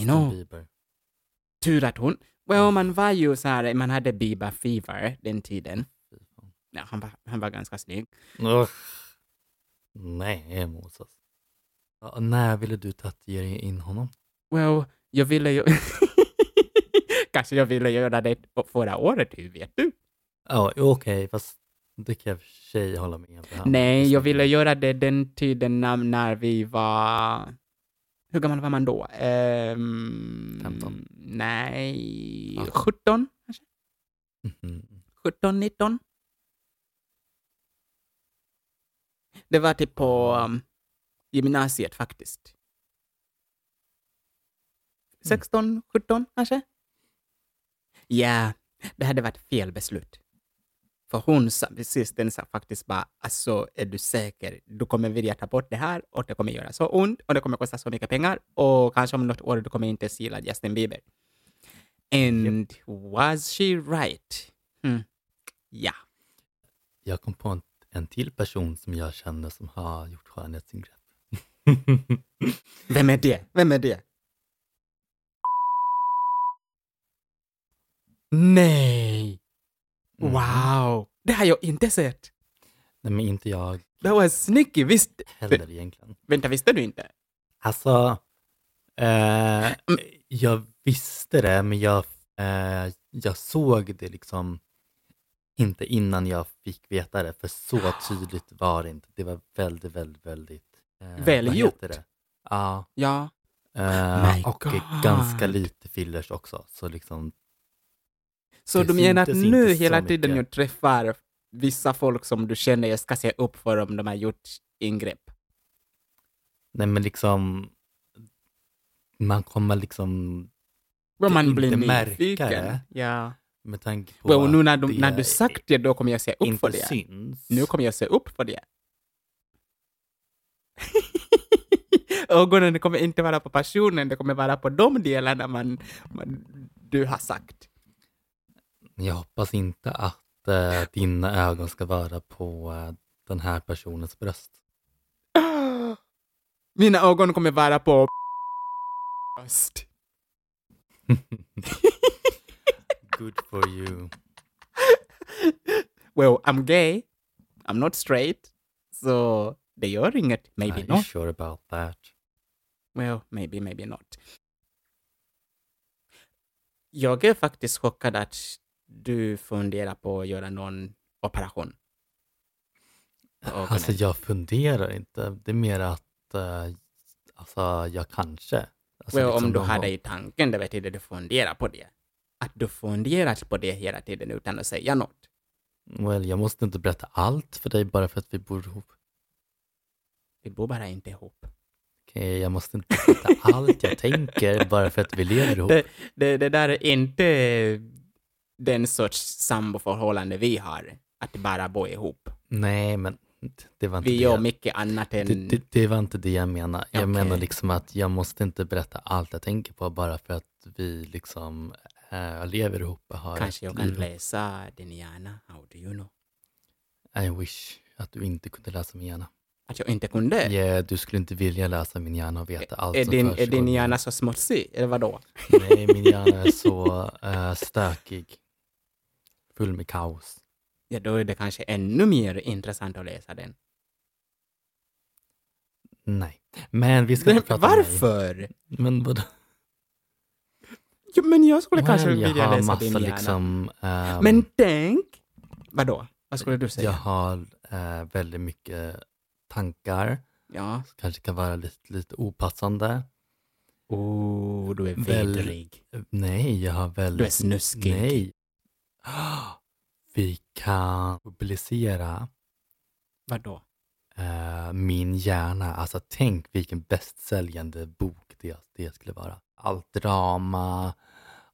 Speaker 2: I know.
Speaker 1: Bieber.
Speaker 2: tur att hon... Well, man var ju så här, man hade Bieber fever den tiden.
Speaker 1: Fy fan.
Speaker 2: Ja, han, var, han var ganska snygg.
Speaker 1: Ugh. Nej, Moses. Ja, när ville du tatuera in honom?
Speaker 2: Well, jag ville ju... <laughs> Kanske jag ville göra det förra året, hur vet du?
Speaker 1: Ja, okej, fast det kan jag i och för sig hålla med om.
Speaker 2: Nej, jag ville göra det den tiden när, när vi var... Hur gammal var man då? Ehm,
Speaker 1: 15.
Speaker 2: Nej,
Speaker 1: Ja.
Speaker 2: 17?
Speaker 1: Mhm.
Speaker 2: 17, 19? Det var typ på um, gymnasiet faktiskt. 16, 17 kanske? Ja, det hade varit fel beslut. För hon sa, systern sa faktiskt bara, alltså är du säker? Du kommer vilja ta bort det här och det kommer göra så ont och det kommer kosta så mycket pengar och kanske om något år du kommer inte ens gilla Justin Bieber. And was she right? Mm. Ja.
Speaker 1: Jag kom på en, en till person som jag känner som har gjort skönhetsingrepp. <laughs>
Speaker 2: Vem är det? Vem är det?
Speaker 1: Nej! Mhm.
Speaker 2: Wow! Det har jag inte sett.
Speaker 1: Nej, men inte jag
Speaker 2: Det var sneaky, visst?
Speaker 1: heller egentligen.
Speaker 2: Vänta, visste du inte?
Speaker 1: Alltså, eh,
Speaker 2: Mm.
Speaker 1: jag visste det, men jag, eh, jag såg det liksom inte innan jag fick veta det, för så
Speaker 2: Ah.
Speaker 1: tydligt var det inte. Det var väldigt, väldigt, väldigt... Eh, vad
Speaker 2: Välgjort.
Speaker 1: heter det? Ja,
Speaker 2: Ja.
Speaker 1: eh,
Speaker 2: My
Speaker 1: och
Speaker 2: God.
Speaker 1: ganska lite fillers också. Så liksom,
Speaker 2: Så
Speaker 1: Det
Speaker 2: du menar att
Speaker 1: syntes
Speaker 2: nu
Speaker 1: inte så
Speaker 2: hela tiden
Speaker 1: mycket.
Speaker 2: du träffar vissa folk som du känner jag ska se upp för om de har gjort ingrepp?
Speaker 1: nej men liksom, man kommer liksom,
Speaker 2: Well, man
Speaker 1: inte
Speaker 2: blir
Speaker 1: märka
Speaker 2: nyfiken.
Speaker 1: det.
Speaker 2: Ja.
Speaker 1: med tanke på
Speaker 2: Well, nu
Speaker 1: att
Speaker 2: när, du
Speaker 1: det
Speaker 2: när du sagt det, då kommer jag se upp för
Speaker 1: inte
Speaker 2: det.
Speaker 1: syns.
Speaker 2: Nu kommer jag se upp för det. <laughs> Ögonen kommer inte vara på personen, det kommer vara på de delarna man, man, du har sagt.
Speaker 1: Jag hoppas inte att eh, dina ögon ska vara på eh, den här personens bröst.
Speaker 2: Mina ögon kommer vara på bröst.
Speaker 1: Good for you.
Speaker 2: Well, I'm gay. I'm not straight. Så det gör inget. Maybe
Speaker 1: Are you
Speaker 2: not.
Speaker 1: sure about that?
Speaker 2: Well, maybe, maybe not. Jag är faktiskt chockad att du funderar på att göra någon operation. på ögonen.
Speaker 1: Alltså jag funderar inte. Det är mer att eh, alltså, jag kanske. Alltså,
Speaker 2: well,
Speaker 1: liksom
Speaker 2: om du
Speaker 1: någon
Speaker 2: hade
Speaker 1: gång.
Speaker 2: i tanken det betyder du funderar på det. Att du funderat på det hela tiden utan att säga något.
Speaker 1: Well, jag måste inte berätta allt för dig bara för att vi bor ihop.
Speaker 2: Vi bor bara inte ihop.
Speaker 1: Okej, jag måste inte berätta allt jag tänker bara för att vi lever ihop.
Speaker 2: <laughs> Det, det, det där är inte den sorts samboförhållande vi har, att bara bo ihop.
Speaker 1: Nej, men det var inte
Speaker 2: Vi
Speaker 1: det.
Speaker 2: gör
Speaker 1: jag-
Speaker 2: mycket annat än...
Speaker 1: Det, det, det var inte det jag menade. Jag
Speaker 2: Okej.
Speaker 1: menar liksom att jag måste inte berätta allt jag tänker på bara för att vi liksom äh, lever ihop och har
Speaker 2: Kanske
Speaker 1: ett
Speaker 2: jag kan
Speaker 1: liv.
Speaker 2: läsa din hjärna, how do you know?
Speaker 1: I wish att du inte kunde läsa min hjärna.
Speaker 2: Att jag inte kunde?
Speaker 1: Ja, alltså du skulle inte vilja läsa min hjärna och veta allt
Speaker 2: Eh. är,
Speaker 1: som
Speaker 2: din, är
Speaker 1: försiggår.
Speaker 2: din hjärna så smutsig, eller vadå?
Speaker 1: Nej, min hjärna är så äh, stökig. Full med kaos.
Speaker 2: Ja, då är det kanske ännu mer intressant att läsa den.
Speaker 1: Nej. Men vi ska inte prata om mig.
Speaker 2: Varför?
Speaker 1: Men vadå?
Speaker 2: Jo, men jag skulle kanske
Speaker 1: Well, jag
Speaker 2: vilja
Speaker 1: har
Speaker 2: läsa din
Speaker 1: massa
Speaker 2: hjärna.
Speaker 1: liksom... ehm,
Speaker 2: Men tänk! Vadå? Vad skulle du säga?
Speaker 1: Jag har eh, väldigt mycket tankar.
Speaker 2: ja.
Speaker 1: som Kanske kan vara lite, lite opassande.
Speaker 2: Oh, du är
Speaker 1: Väl-
Speaker 2: vidrig.
Speaker 1: Nej, jag har
Speaker 2: Du är
Speaker 1: väldigt...
Speaker 2: snuskig.
Speaker 1: Nej. <gasps> Ah, Vi kan publicera
Speaker 2: Vadå?
Speaker 1: eh, min hjärna. Alltså tänk vilken bästsäljande bok det, det skulle vara. Allt drama.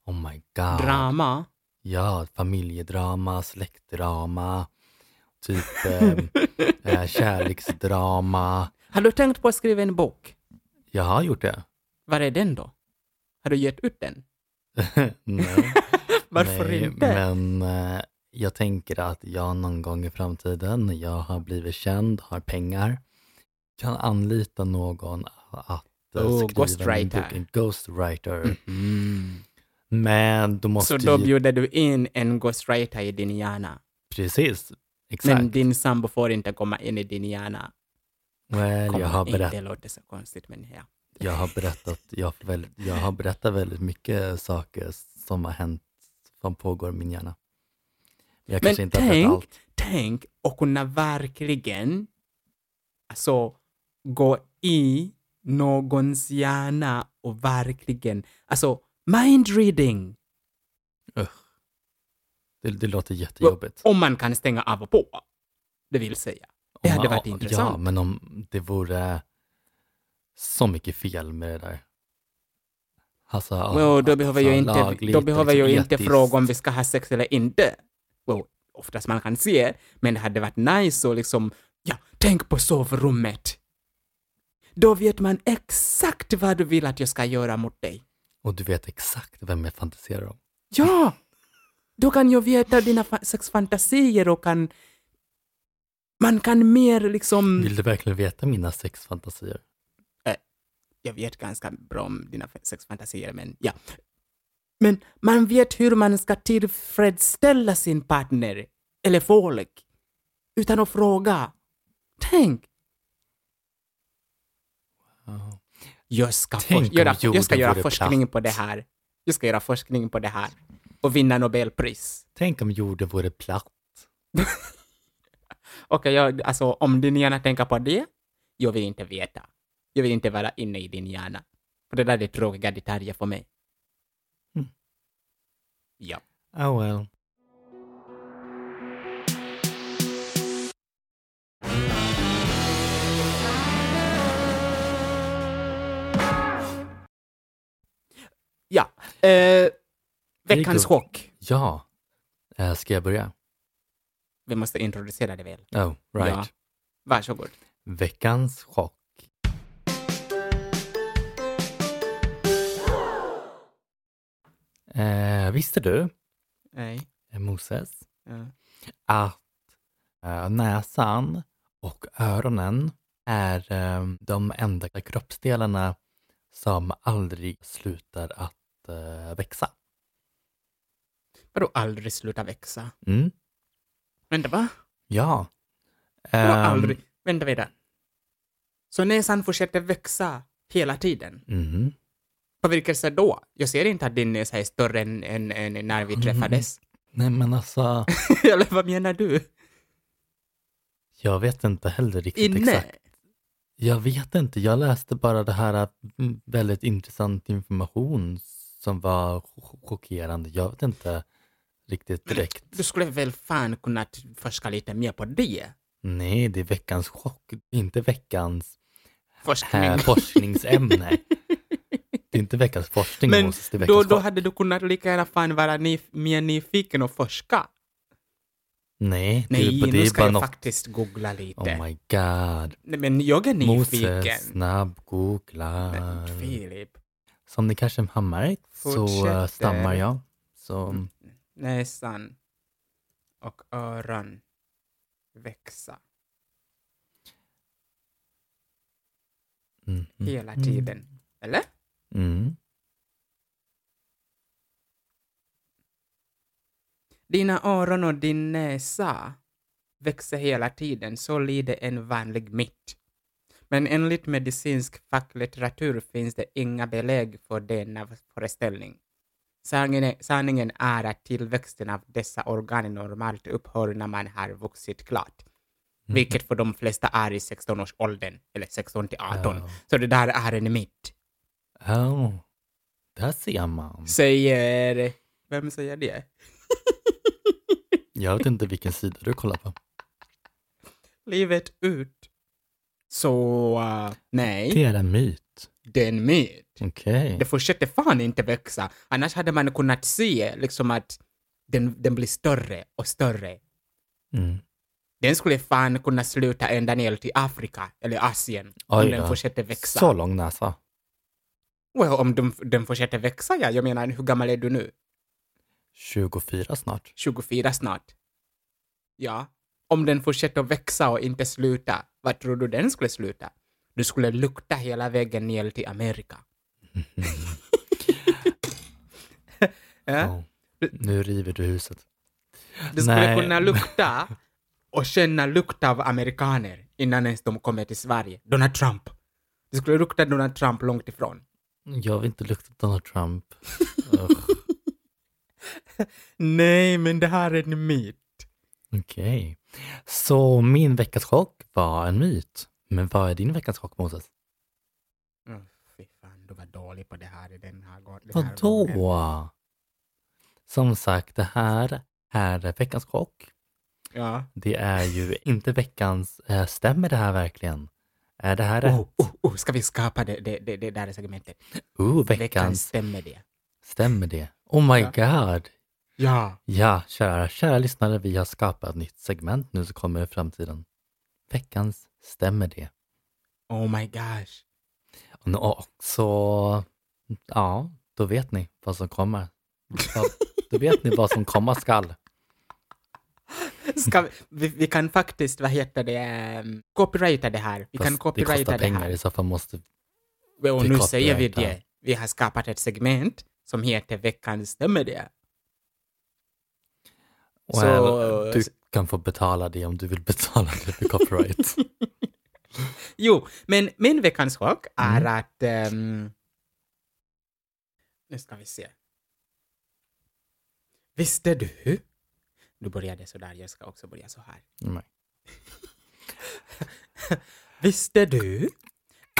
Speaker 1: Oh my god.
Speaker 2: Drama?
Speaker 1: Ja, familjedrama, släktdrama.
Speaker 2: <laughs>
Speaker 1: Typ eh, eh, kärleksdrama.
Speaker 2: Har du tänkt på att skriva en bok?
Speaker 1: Jag har gjort det. <laughs>
Speaker 2: Var är den då? Har du gett ut den?
Speaker 1: Nej.
Speaker 2: Varför
Speaker 1: Nej,
Speaker 2: inte?
Speaker 1: Men eh, jag tänker att jag någon gång i framtiden, när jag har blivit känd, har pengar, kan anlita någon att eh, skriva
Speaker 2: Oh,
Speaker 1: min
Speaker 2: ghostwriter.
Speaker 1: bok. En ghostwriter.
Speaker 2: Mm.
Speaker 1: Men då måste
Speaker 2: Så då
Speaker 1: ju...
Speaker 2: bjuder du in en ghostwriter i din hjärna.
Speaker 1: Precis, exakt.
Speaker 2: Men din sambo får inte komma in i din hjärna.
Speaker 1: Well,
Speaker 2: Komma
Speaker 1: jag, har
Speaker 2: in,
Speaker 1: berätt,
Speaker 2: Det låter så konstigt, men ja.
Speaker 1: jag har berättat jag har, väl, jag har berättat väldigt mycket saker som har hänt, som pågår i min hjärna. Jag
Speaker 2: Men
Speaker 1: kanske inte har berättat
Speaker 2: tänk-
Speaker 1: allt.
Speaker 2: Tänk att kunna verkligen alltså, gå i någons hjärna och verkligen, alltså mind reading.
Speaker 1: Det, det låter jättejobbigt.
Speaker 2: Om man kan stänga av och på, det vill säga. Det
Speaker 1: Om
Speaker 2: hade
Speaker 1: man-
Speaker 2: varit intressant.
Speaker 1: Ja, men om det vore så mycket fel med det där. Alltså,
Speaker 2: Well, då
Speaker 1: att
Speaker 2: behöver
Speaker 1: så
Speaker 2: jag inte,
Speaker 1: lagligt
Speaker 2: då
Speaker 1: och
Speaker 2: behöver
Speaker 1: liksom
Speaker 2: jag inte
Speaker 1: etiskt.
Speaker 2: fråga om vi ska ha sex eller inte. Well, oftast man kan se, men det hade varit nice och liksom, ja, tänk på sovrummet. Då vet man exakt vad du vill att jag ska göra mot dig.
Speaker 1: Och du vet exakt vem jag fantiserar om.
Speaker 2: Ja! Då kan jag veta dina fa- sexfantasier och kan... Man kan mer liksom...
Speaker 1: Vill du verkligen veta mina sexfantasier?
Speaker 2: jag vet ganska bra om dina f- sexfantasier, men ja. Men man vet hur man ska tillfredsställa sin partner eller folk utan att fråga. Tänk!
Speaker 1: Ja.
Speaker 2: Jag ska,
Speaker 1: Tänk
Speaker 2: for-
Speaker 1: om
Speaker 2: göra, jag
Speaker 1: jorden
Speaker 2: ska göra
Speaker 1: vore
Speaker 2: forskning
Speaker 1: platt.
Speaker 2: på det här. Jag ska göra forskning på det här och vinna Nobelpris.
Speaker 1: Tänk om jorden vore platt.
Speaker 2: Okej, jag, alltså om din hjärna tänker på det, jag vill inte veta. Jag vill inte vara inne i din hjärna. För det där är tråkiga detaljer för mig.
Speaker 1: Mm.
Speaker 2: Ja.
Speaker 1: Oh well.
Speaker 2: Ja. Eh, veckans
Speaker 1: Rico.
Speaker 2: chock.
Speaker 1: Ja. Eh, ska jag börja?
Speaker 2: Vi måste introducera det väl.
Speaker 1: Oh, right.
Speaker 2: Ja. Varsågod.
Speaker 1: Veckans chock. Eh, visste du,
Speaker 2: Nej.
Speaker 1: eh, Moses,
Speaker 2: Ja.
Speaker 1: att eh, näsan och öronen är eh, de enda kroppsdelarna som aldrig slutar att eh, växa?
Speaker 2: Vadå aldrig sluta växa?
Speaker 1: Mm.
Speaker 2: Vänta, va?
Speaker 1: Ja.
Speaker 2: Vadå
Speaker 1: Ehm,
Speaker 2: aldrig? Vänta, vänta. Så näsan fortsätter växa hela tiden?
Speaker 1: Mm.
Speaker 2: På vilket sätt då? Jag ser inte att din näsa är större än, än, än när
Speaker 1: Mm.
Speaker 2: vi träffades.
Speaker 1: Nej men alltså,
Speaker 2: <laughs> Eller vad menar du?
Speaker 1: jag vet inte heller riktigt exakt.
Speaker 2: Inne?
Speaker 1: Jag vet inte. Jag läste bara det här mm, väldigt intressant information som var ch- chockerande. Jag vet inte riktigt direkt.
Speaker 2: Du skulle väl fan kunnat forska lite mer på det?
Speaker 1: Nej, det är veckans chock. Inte veckans
Speaker 2: Forskning.
Speaker 1: här forskningsämne. Det är inte veckans forskning,
Speaker 2: Men
Speaker 1: Moses. Det är
Speaker 2: <laughs> då,
Speaker 1: veckans
Speaker 2: då
Speaker 1: chock.
Speaker 2: hade du kunnat lika gärna fan vara nyf- mer nyfiken och forska.
Speaker 1: Nej, det,
Speaker 2: Nej,
Speaker 1: är- det
Speaker 2: nu
Speaker 1: är
Speaker 2: ska
Speaker 1: bara
Speaker 2: jag
Speaker 1: något.
Speaker 2: faktiskt googla lite.
Speaker 1: Oh my god.
Speaker 2: Nej, men jag är
Speaker 1: Moses,
Speaker 2: nyfiken.
Speaker 1: snabb, googla.
Speaker 2: Men Filip.
Speaker 1: Som ni kanske har märkt så eh,
Speaker 2: Fortsätter. Mm.
Speaker 1: stammar jag. Så
Speaker 2: Näsan och öron växa
Speaker 1: mm, mm,
Speaker 2: hela tiden. Eller?
Speaker 1: Mm.
Speaker 2: Dina öron och din näsa växer hela tiden, så lider en vanlig mitt. Men enligt medicinsk facklitteratur finns det inga belägg för denna föreställning. Sanningen är, sanningen är att tillväxten av dessa organ normalt upphör när man har vuxit klart. Vilket för de flesta är i 16-årsåldern, eller 16 till 18.
Speaker 1: Ja.
Speaker 2: Så det där är en mitt.
Speaker 1: Oh, där ser man.
Speaker 2: Säger... Vem säger det?
Speaker 1: Jag vet inte vilken sida du kollar
Speaker 2: <laughs>
Speaker 1: på.
Speaker 2: Livet ut. Så, eh, nej.
Speaker 1: Det är en myt.
Speaker 2: den med.
Speaker 1: Okej.
Speaker 2: Det fortsätter fan inte växa. Annars hade man kunnat se liksom att den, den blir större och större.
Speaker 1: Mm.
Speaker 2: Den skulle fan kunna sluta ända ner till Afrika eller Asien om
Speaker 1: Oj
Speaker 2: den
Speaker 1: då.
Speaker 2: fortsätter växa.
Speaker 1: Så lång näsa.
Speaker 2: Well, om den, den fortsätter växa, ja. Jag menar, hur gammal är du nu?
Speaker 1: 24 snart.
Speaker 2: 24 snart. Ja. Om den fortsätter växa och inte sluta, vad tror du den skulle sluta? Du skulle lukta hela vägen ner till Amerika. Ja.
Speaker 1: Oh. Nu river du huset.
Speaker 2: Du skulle
Speaker 1: Nej. <laughs>
Speaker 2: kunna lukta och känna lukt av amerikaner innan ens de kommer till Sverige. Donald Trump. Du skulle lukta Donald Trump långt ifrån.
Speaker 1: Jag vill inte lukta Donald Trump. Ugh,
Speaker 2: Nej, men det här är en myt.
Speaker 1: Okej. Så min veckas chock var en myt. Men vad är din veckas chock, Moses?
Speaker 2: Mm, fy fan, du var dålig på det här i den här gången. den här gången.
Speaker 1: Vadå? Som sagt, det här är veckans chock.
Speaker 2: Ja.
Speaker 1: Det är ju inte veckans, eh, stämmer det här verkligen? Är det här
Speaker 2: Oh,
Speaker 1: rätt?
Speaker 2: oh, oh, ska vi skapa det, det, det, det där segmentet?
Speaker 1: Oh,
Speaker 2: Veckan
Speaker 1: veckans,
Speaker 2: stämmer det.
Speaker 1: stämmer det? Oh my god!
Speaker 2: Ja.
Speaker 1: Ja, kära, kära lyssnare, vi har skapat ett nytt segment nu som kommer i framtiden. Veckans, stämmer det?
Speaker 2: Oh my gosh.
Speaker 1: Och nå- Och så, ja, då vet ni vad som kommer. Ja, Då vet ni vad som komma skall.
Speaker 2: Ska vi, vi, vi kan faktiskt, vad heter det, ehm, copyrighta det här. <laughs> Vi kan
Speaker 1: Fast det
Speaker 2: copyrighta
Speaker 1: kostar
Speaker 2: det,
Speaker 1: pengar
Speaker 2: här.
Speaker 1: i så fall måste...
Speaker 2: Well,
Speaker 1: Vi
Speaker 2: nu säger vi
Speaker 1: copyrightar.
Speaker 2: det. Vi har skapat ett segment som heter Veckans stämmer det.
Speaker 1: Well,
Speaker 2: Så- eh,
Speaker 1: du kan få betala det om du vill betala det för
Speaker 2: <laughs>
Speaker 1: copyright.
Speaker 2: Jo, men min veckans chock
Speaker 1: Mm.
Speaker 2: är att... ehm, nu ska vi se. Visste du? Du började sådär, jag ska också börja så här.
Speaker 1: Nej.
Speaker 2: Visste du?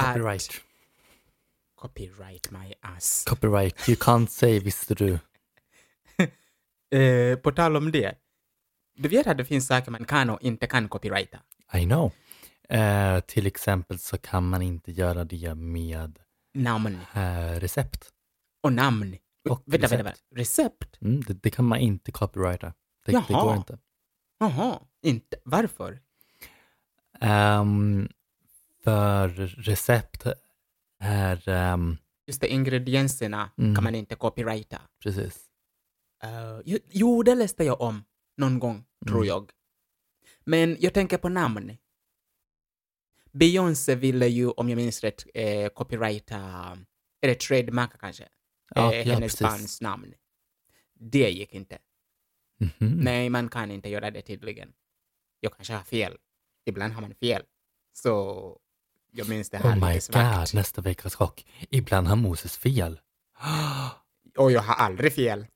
Speaker 2: att-
Speaker 1: Copyright.
Speaker 2: Copyright my ass.
Speaker 1: Copyright. You can't say visste du.
Speaker 2: Eh, på tal om det. Du vet att det finns saker man kan och inte kan copyrighta.
Speaker 1: I know. Eh, till exempel så kan man inte göra det med
Speaker 2: Namn
Speaker 1: eh, recept.
Speaker 2: och namn.
Speaker 1: Och
Speaker 2: vänta, vänta,
Speaker 1: recept.
Speaker 2: vänta. Recept?
Speaker 1: Mm, det, det kan man inte copyrighta. Det, det
Speaker 2: Jaha.
Speaker 1: går inte.
Speaker 2: Jaha, inte. Varför?
Speaker 1: Ehm, för recept är... ehm,
Speaker 2: Just det, ingredienserna
Speaker 1: Mm.
Speaker 2: kan man inte copyrighta.
Speaker 1: precis.
Speaker 2: Eh, ju- jo, det läste jag om någon gång, tror
Speaker 1: Mm.
Speaker 2: jag. Men jag tänker på namn. Beyoncé ville ju, om jag minns rätt, eh, copyrighta, eller trademarka kanske,
Speaker 1: Ja,
Speaker 2: eh,
Speaker 1: ja,
Speaker 2: hennes
Speaker 1: precis. Mm.
Speaker 2: bands namn. Det gick inte.
Speaker 1: Mhm.
Speaker 2: Nej, man kan inte göra det tydligen. Jag kanske har fel. Ibland har man fel. Så jag minns det här
Speaker 1: Oh my
Speaker 2: lite svagt.
Speaker 1: god, nästa veckas chock. Ibland har Moses fel.
Speaker 2: Och jag har aldrig fel.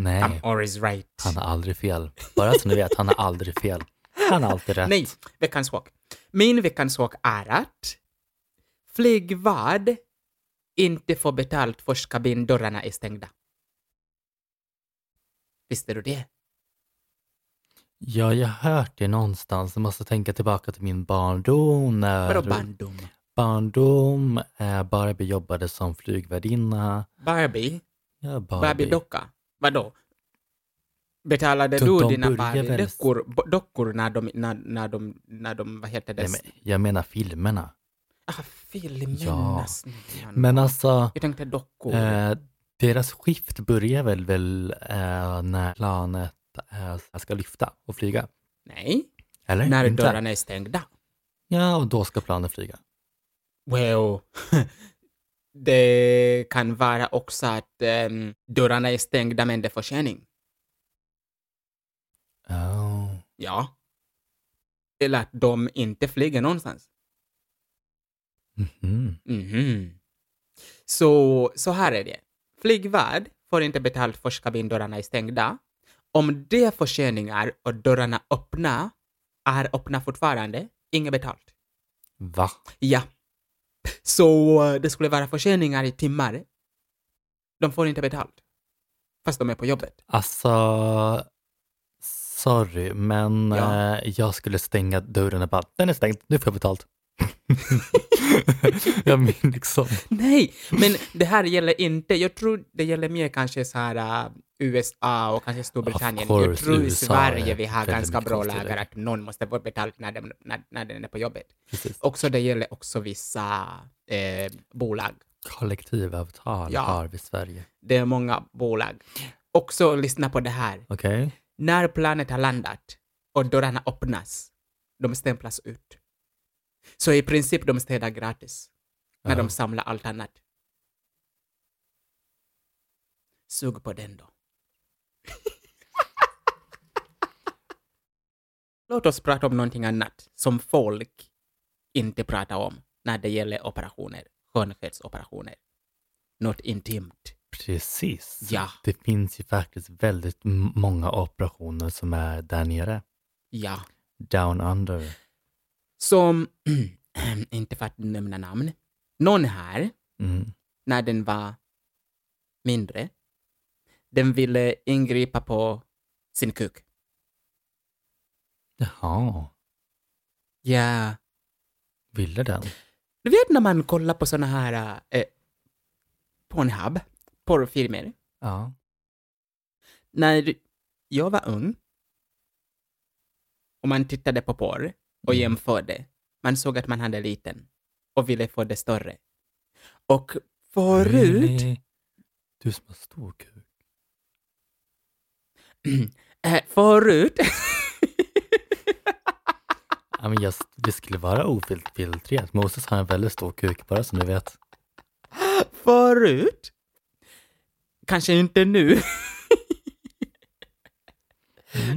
Speaker 1: Nej,
Speaker 2: I'm always right.
Speaker 1: han har aldrig fel. Bara så ni vet, han har aldrig fel. Han har alltid rätt.
Speaker 2: Nej, veckans chock. Min veckans chock är att flygvärd inte får betalt först kabindörrarna är stängda. Visste du det?
Speaker 1: Ja, jag har hört det någonstans. Jag måste tänka tillbaka till min barndom. När
Speaker 2: Vadå bandom?
Speaker 1: Barndom. Eh, Barbie jobbade som flygvärdinna.
Speaker 2: Barbie?
Speaker 1: Ja, Barbie.
Speaker 2: Barbie-docka? Vadå? Betalade
Speaker 1: De-
Speaker 2: du
Speaker 1: de
Speaker 2: dina
Speaker 1: börjar väl-
Speaker 2: Barbie-dockor bo- dockor när de, när, när de, när de, vad heter det?
Speaker 1: Nej, men jag menar filmerna.
Speaker 2: Ah, filmerna
Speaker 1: Ja.
Speaker 2: snälla.
Speaker 1: Men alltså,
Speaker 2: Jag tänkte dockor.
Speaker 1: eh, deras skift börjar väl, väl eh, när planet eh, ska lyfta och flyga?
Speaker 2: Nej,
Speaker 1: Eller?
Speaker 2: när
Speaker 1: Inte?
Speaker 2: dörrarna är stängda.
Speaker 1: Ja, och då ska planet flyga.
Speaker 2: Well, <laughs> det kan vara också att ehm, dörrarna är stängda men det är försening.
Speaker 1: Oh.
Speaker 2: Ja. Eller att de inte flyger någonstans.
Speaker 1: Mhm.
Speaker 2: Mhm. Så, så här är det. Flygvärd får inte betalt först kabindörrarna är stängda. Om det är förseningar och dörrarna öppna, är öppna fortfarande, inget betalt.
Speaker 1: Va?
Speaker 2: Ja. Så eh, det skulle vara förseningar i timmar. De får inte betalt. Fast de är på jobbet. <laughs>
Speaker 1: Alltså, sorry, men
Speaker 2: Ja.
Speaker 1: eh, jag skulle stänga dörren och bara, den är stängd, nu får jag betalt. <laughs> jag menar liksom,
Speaker 2: Nej, men det här gäller inte. Jag tror det gäller mer kanske så här äh, USA och kanske Storbritannien.
Speaker 1: Of course,
Speaker 2: jag tror i
Speaker 1: USA
Speaker 2: Sverige
Speaker 1: är
Speaker 2: vi har
Speaker 1: väldigt
Speaker 2: ganska
Speaker 1: mycket
Speaker 2: bra
Speaker 1: konstigare.
Speaker 2: lagar att någon måste få betalt när den, när, när den är på jobbet.
Speaker 1: precis,
Speaker 2: Också det gäller också vissa eh, bolag.
Speaker 1: kollektivavtal
Speaker 2: Ja.
Speaker 1: har vi i Sverige.
Speaker 2: Det är många bolag. Också lyssna på det här.
Speaker 1: Okej?
Speaker 2: När planet har landat och dörrarna öppnas, de stämplas ut. Så i princip de städar gratis när
Speaker 1: Ja.
Speaker 2: de samlar allt annat. Sug på den då. Låt oss prata om någonting annat som folk inte pratar om när det gäller operationer, skönhetsoperationer. Något intimt.
Speaker 1: Precis.
Speaker 2: Ja.
Speaker 1: Det finns ju faktiskt väldigt m- många operationer som är där nere.
Speaker 2: Ja.
Speaker 1: Down under.
Speaker 2: som, <clears throat> inte för att nämna namn, någon här,
Speaker 1: Mm.
Speaker 2: när den var mindre, den ville ingripa på sin kuk.
Speaker 1: Jaha,
Speaker 2: Ja,
Speaker 1: ville den?
Speaker 2: du vet när man kollar på såna här eh, Pornhub, porrfilmer.
Speaker 1: Ja.
Speaker 2: När jag var ung och man tittade på porr och
Speaker 1: Mm.
Speaker 2: jämförde, man såg att man hade liten och ville få det större. Och förut
Speaker 1: Really? Du som har stor kuk.
Speaker 2: Eh, förut,
Speaker 1: Ja, men jag, det skulle vara ofiltrerat. Moses har en väldigt stor kuk, bara som ni vet.
Speaker 2: förut, kanske inte nu,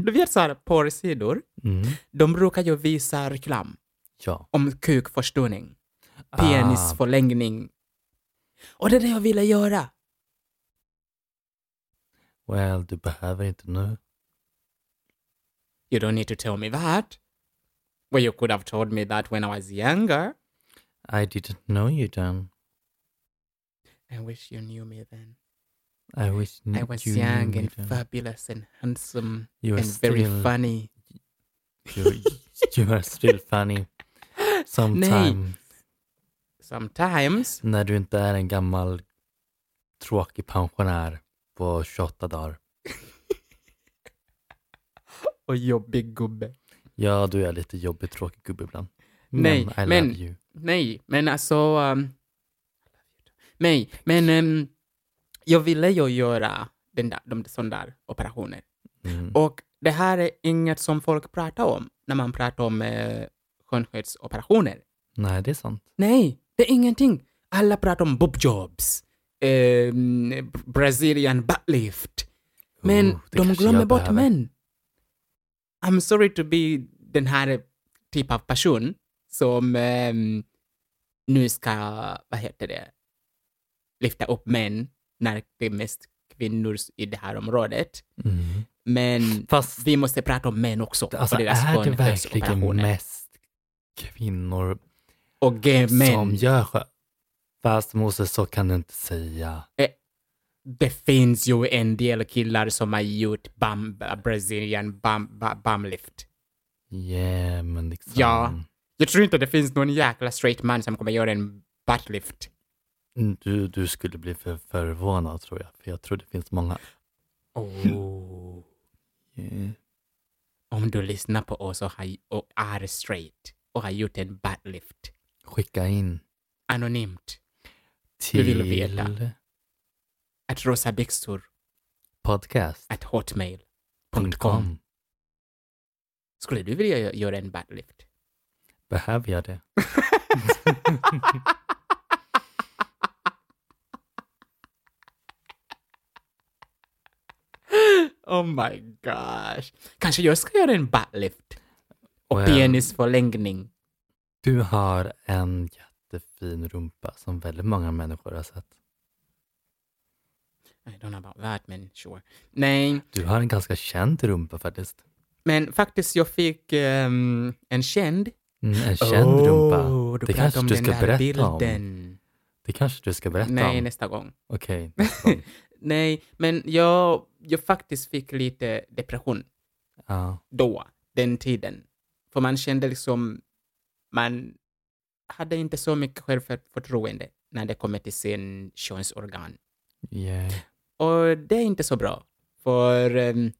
Speaker 2: Du vet så här porrsidor,
Speaker 1: Mm.
Speaker 2: de brukar ju visa reklam
Speaker 1: Ja.
Speaker 2: om kukförstoring,
Speaker 1: Ah.
Speaker 2: penisförlängning. Och det är det jag ville göra.
Speaker 1: Ah, well, du behöver inte nu.
Speaker 2: You don't need to tell me that. Well, you could have told me that when I was younger.
Speaker 1: I didn't know you then.
Speaker 2: I wish you knew me then.
Speaker 1: I wish
Speaker 2: I
Speaker 1: n-
Speaker 2: was
Speaker 1: Mm, you
Speaker 2: young
Speaker 1: knew me
Speaker 2: and
Speaker 1: then.
Speaker 2: fabulous and handsome
Speaker 1: You are
Speaker 2: and very
Speaker 1: still-
Speaker 2: funny.
Speaker 1: You, you are still
Speaker 2: <laughs>
Speaker 1: funny. Sometime.
Speaker 2: Sometimes.
Speaker 1: När du inte är en gammal tråkig pensionär på 28 dagar.
Speaker 2: Och jobbig gubbe.
Speaker 1: Ja, du är lite jobbig tråkig gubbe ibland. Men
Speaker 2: Nej,
Speaker 1: I love
Speaker 2: men-
Speaker 1: you.
Speaker 2: Nej, men alltså... Um, nej, men um, jag ville ju göra den där, de sådana där operationer.
Speaker 1: Mm.
Speaker 2: Och det här är inget som folk pratar om när man pratar om eh, skönhetsoperationer.
Speaker 1: Nej, det är sant.
Speaker 2: Nej, det är ingenting. Alla pratar om boobjobs, eh, Brazilian buttlift. Men
Speaker 1: Oh, det
Speaker 2: de
Speaker 1: kanske
Speaker 2: glömmer
Speaker 1: jag
Speaker 2: bort
Speaker 1: behöver.
Speaker 2: män. I'm sorry to be den här typ av person som ehm, nu ska, vad heter det, lyfta upp män när det är mest kvinnor i det här området.
Speaker 1: Mm.
Speaker 2: Men
Speaker 1: Fast
Speaker 2: vi måste prata om män också. och
Speaker 1: alltså,
Speaker 2: deras
Speaker 1: är det verkligen
Speaker 2: skönhetsoperationer.
Speaker 1: mest kvinnor
Speaker 2: Och gay
Speaker 1: som
Speaker 2: män.
Speaker 1: gör skö... Fast Moses, så kan du inte säga.
Speaker 2: det finns ju en del killar som har gjort bam, Brazilian bam, ba- bamlift.
Speaker 1: Yeah, men liksom.
Speaker 2: Ja. Jag tror inte det finns någon jäkla straight man som kommer göra en buttlift.
Speaker 1: Du, du skulle bli för förvånad tror jag. För jag tror det finns många.
Speaker 2: Oh.
Speaker 1: Yeah.
Speaker 2: Mm. Om du lyssnar på oss och, har, och är straight och har gjort en buttlift
Speaker 1: Skicka in
Speaker 2: anonymt Vi
Speaker 1: till
Speaker 2: vill veta. att rosabixtor
Speaker 1: podcast.com.
Speaker 2: at hotmail.com. Skulle du vilja gö- göra en buttlift?
Speaker 1: Behöver jag det?
Speaker 2: <laughs> Oh my gosh. Kanske jag ska göra en buttlift och
Speaker 1: Well.
Speaker 2: penisförlängning.
Speaker 1: Du har en jättefin rumpa som väldigt många människor har sett.
Speaker 2: I don't know about that, men sure. Nej,
Speaker 1: Du har en ganska känd rumpa faktiskt.
Speaker 2: men faktiskt jag fick ehm, en känd.
Speaker 1: Mm, en känd
Speaker 2: Oh.
Speaker 1: rumpa.
Speaker 2: du
Speaker 1: Det
Speaker 2: pratar
Speaker 1: kanske
Speaker 2: om
Speaker 1: du
Speaker 2: den
Speaker 1: ska
Speaker 2: där
Speaker 1: berätta om.
Speaker 2: bilden.
Speaker 1: Det kanske du ska berätta
Speaker 2: Nej,
Speaker 1: om.
Speaker 2: nästa gång.
Speaker 1: Okej. nästa
Speaker 2: <laughs>
Speaker 1: gång.
Speaker 2: Nej, men jag, jag faktiskt fick lite depression
Speaker 1: ja.
Speaker 2: då, den tiden. För man kände liksom, man hade inte så mycket självförtroende när det kommer till sin könsorgan.
Speaker 1: Yeah.
Speaker 2: Och det är inte så bra. För ehm,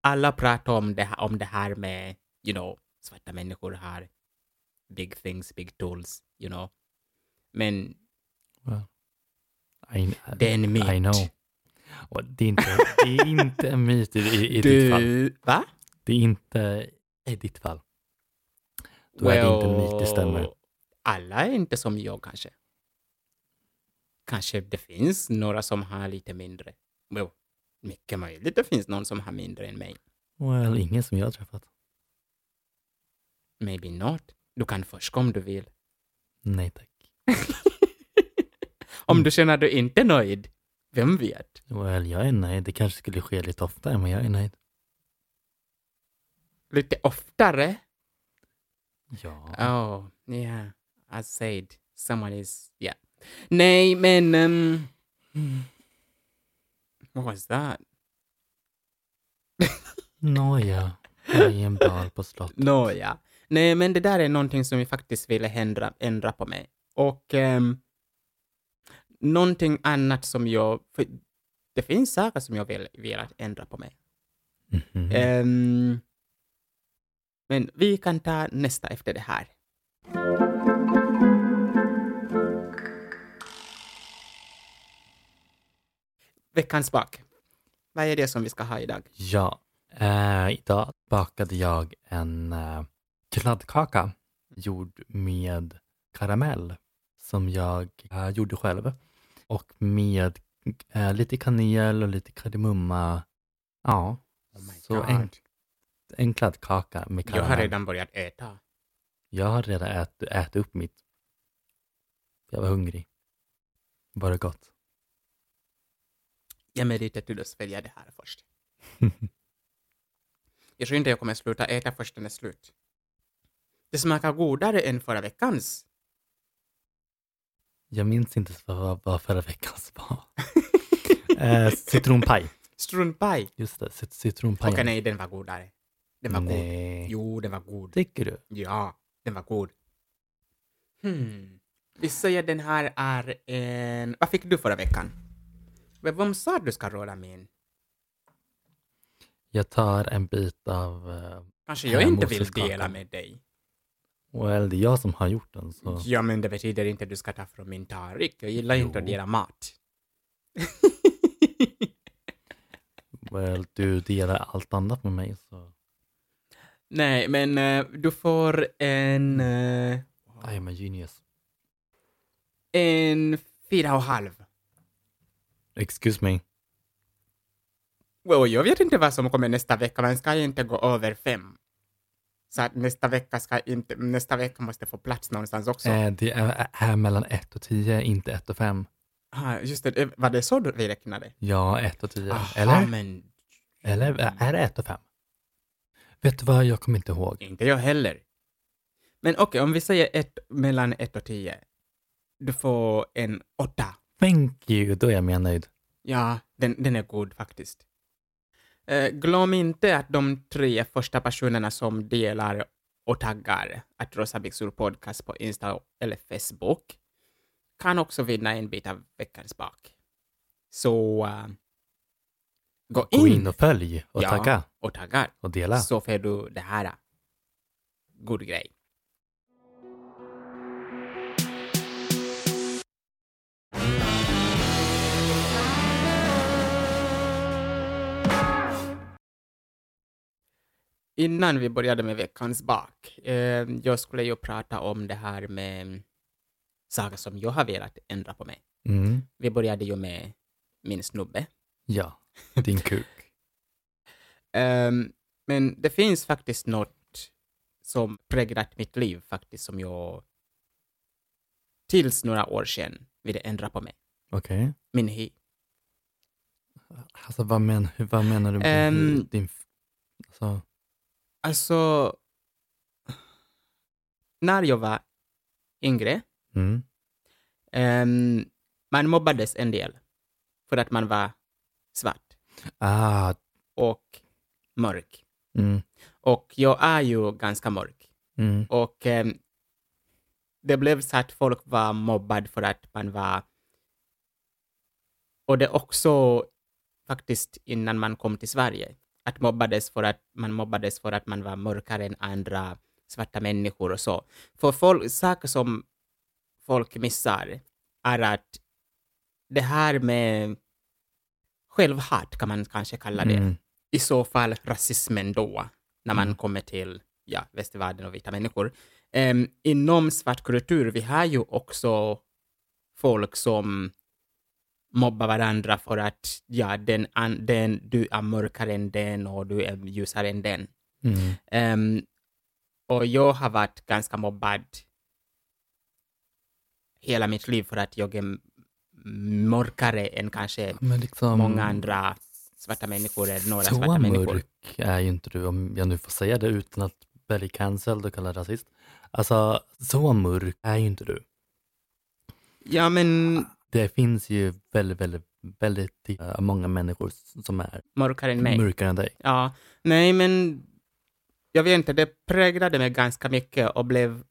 Speaker 2: alla pratar om det, här, om det här med, you know, svarta människor har big things, big tools, you know. Men
Speaker 1: I,
Speaker 2: det är en myt.
Speaker 1: I know. Och det, är inte, det är inte en myt i, i, i ditt fall.
Speaker 2: <laughs> Du, va?
Speaker 1: Det är inte i ditt fall. Då är det inte en myt, det stämmer.
Speaker 2: Alla är inte som jag kanske. Kanske det finns några som har lite mindre. Well, mycket möjligt det finns någon som har mindre än mig.
Speaker 1: Well, ingen som jag har träffat.
Speaker 2: Maybe not. Du kan forska om du vill.
Speaker 1: Nej tack.
Speaker 2: Om
Speaker 1: Mm.
Speaker 2: du känner dig inte nöjd, vem vet?
Speaker 1: Well, jag är nöjd. Det kanske skulle ske lite oftare, men jag är nöjd.
Speaker 2: Lite oftare?
Speaker 1: Ja.
Speaker 2: Oh, yeah. As said, someone is... Yeah. Nej, men... Um,
Speaker 1: Mm.
Speaker 2: what was that?
Speaker 1: Nåja. Jag är en bal på slottet.
Speaker 2: Nåja. Nej, men det där är någonting som jag faktiskt ville ändra, ändra på mig. Och um, någonting annat som jag... För det finns saker som jag vill, velat ändra på mig.
Speaker 1: Mhm.
Speaker 2: Ehm, men vi kan ta nästa efter det här. Veckans bak. Vad är det som vi ska ha idag?
Speaker 1: Ja, eh, idag bakade jag en eh, kladdkaka gjord med karamell som jag eh, gjorde själv och med eh, lite kanel och lite kardemumma. Ja,
Speaker 2: Oh my
Speaker 1: Så
Speaker 2: God.
Speaker 1: en- enklad kaka med
Speaker 2: Jag har
Speaker 1: karamell.
Speaker 2: redan börjat äta.
Speaker 1: Jag har redan ät, ätit upp mitt. Jag var hungrig. Var det gott?
Speaker 2: Jag meriter till att svälja det här först.
Speaker 1: <laughs>
Speaker 2: jag tror inte jag kommer sluta äta först när det är slut. Det smakar godare än förra veckans.
Speaker 1: Jag minns inte vad, vad förra veckans var.
Speaker 2: <laughs>
Speaker 1: eh, citronpaj.
Speaker 2: Struntpaj.
Speaker 1: Just det, cit- citronpaj.
Speaker 2: Okej, nej, den var godare. Den var god.
Speaker 1: Nej.
Speaker 2: Jo, den var god.
Speaker 1: Tycker du?
Speaker 2: Ja, den var god. Hmm. Vi säger den här är en... Vad fick du förra veckan? Men Vem sa att du ska råda min?
Speaker 1: Jag tar en bit av... eh,
Speaker 2: Kanske jag
Speaker 1: Här är
Speaker 2: inte vill
Speaker 1: Moses-kakan.
Speaker 2: dela med dig.
Speaker 1: Well, det är jag som har gjort den. Så.
Speaker 2: Ja, men det betyder inte att du ska ta från min tarik. Jag gillar inte att
Speaker 1: Jo.
Speaker 2: dela mat.
Speaker 1: Well, du delar allt annat med mig. Så.
Speaker 2: Nej, men eh, du får en... eh,
Speaker 1: I am a genius.
Speaker 2: en fyra och halv.
Speaker 1: Excuse me.
Speaker 2: Wow, jag vet inte vad som kommer nästa vecka. Man ska inte gå över fem. Så att nästa vecka ska inte... Nästa vecka måste få plats någonstans också.
Speaker 1: Eh, det är, är mellan 1 och 10, inte 1 och 5.
Speaker 2: Ah, just det, eh, var det så du- vi räknade?
Speaker 1: Ja, 1 och 10.
Speaker 2: Aha,
Speaker 1: Eller?
Speaker 2: men
Speaker 1: Eller är det 1 och 5? Vet du vad, jag kommer inte ihåg.
Speaker 2: inte jag heller. Men okej, om vi säger ett, mellan ett och tio. Du får en åtta.
Speaker 1: Thank you, då är jag mer nöjd.
Speaker 2: Ja, den, den är god faktiskt. Eh, glöm inte att de tre första personerna som delar och taggar att Rosa Bixur Podcast på Insta eller Facebook kan också vinna en bit av veckans bak. Så eh, gå in,
Speaker 1: Gå in och följ och
Speaker 2: Ja.
Speaker 1: tagga
Speaker 2: och taggar.
Speaker 1: och dela.
Speaker 2: så får du det här. äh. God grej. Innan vi började med veckans bak, eh, jag skulle ju prata om det här med mm, saker som jag har velat ändra på mig.
Speaker 1: Mm.
Speaker 2: Vi började ju med min snubbe.
Speaker 1: Ja, din
Speaker 2: <laughs>
Speaker 1: kuk.
Speaker 2: Ehm, men det finns faktiskt något som präglat mitt liv faktiskt som jag tills några år sedan ville ändra på mig.
Speaker 1: Okej.
Speaker 2: Min hy.
Speaker 1: Alltså vad, men, hur- vad menar du med
Speaker 2: Ehm.
Speaker 1: din... din f- alltså,
Speaker 2: Alltså, när jag var yngre,
Speaker 1: mm,
Speaker 2: ehm, man mobbades en del för att man var svart
Speaker 1: ah,
Speaker 2: och mörk.
Speaker 1: mm,
Speaker 2: Och jag är ju ganska mörk.
Speaker 1: mm,
Speaker 2: Och ehm, det blev så att folk var mobbad för att man var... Och det också faktiskt innan man kom till Sverige. Att mobbades för att man mobbades för att man var mörkare än andra svarta människor och så. För folk, saker som folk missar är att det här med självhat kan man kanske kalla det
Speaker 1: mm,
Speaker 2: i så fall rasismen då, när man
Speaker 1: Mm.
Speaker 2: kommer till ja, västvärlden och vita människor. Ehm, inom svart kultur, vi har ju också folk som mobbar varandra för att ja, den, an, den, du är mörkare än den och du är ljusare än den.
Speaker 1: mm,
Speaker 2: Ehm, och jag har varit ganska mobbad hela mitt liv för att jag är m- mörkare än kanske
Speaker 1: Men liksom,
Speaker 2: många andra svarta människor eller några
Speaker 1: så
Speaker 2: svarta människor.
Speaker 1: mörk är ju inte du, om jag nu får säga det utan att bli cancelled och kallad rasist. Alltså, så mörk är ju inte du.
Speaker 2: Ja, men
Speaker 1: Det finns ju väldigt, väldigt, väldigt eh, många människor s- som är
Speaker 2: mörkare än mig.
Speaker 1: mörkare än dig.
Speaker 2: Ja, nej, men jag vet inte, det präglade mig ganska mycket och blev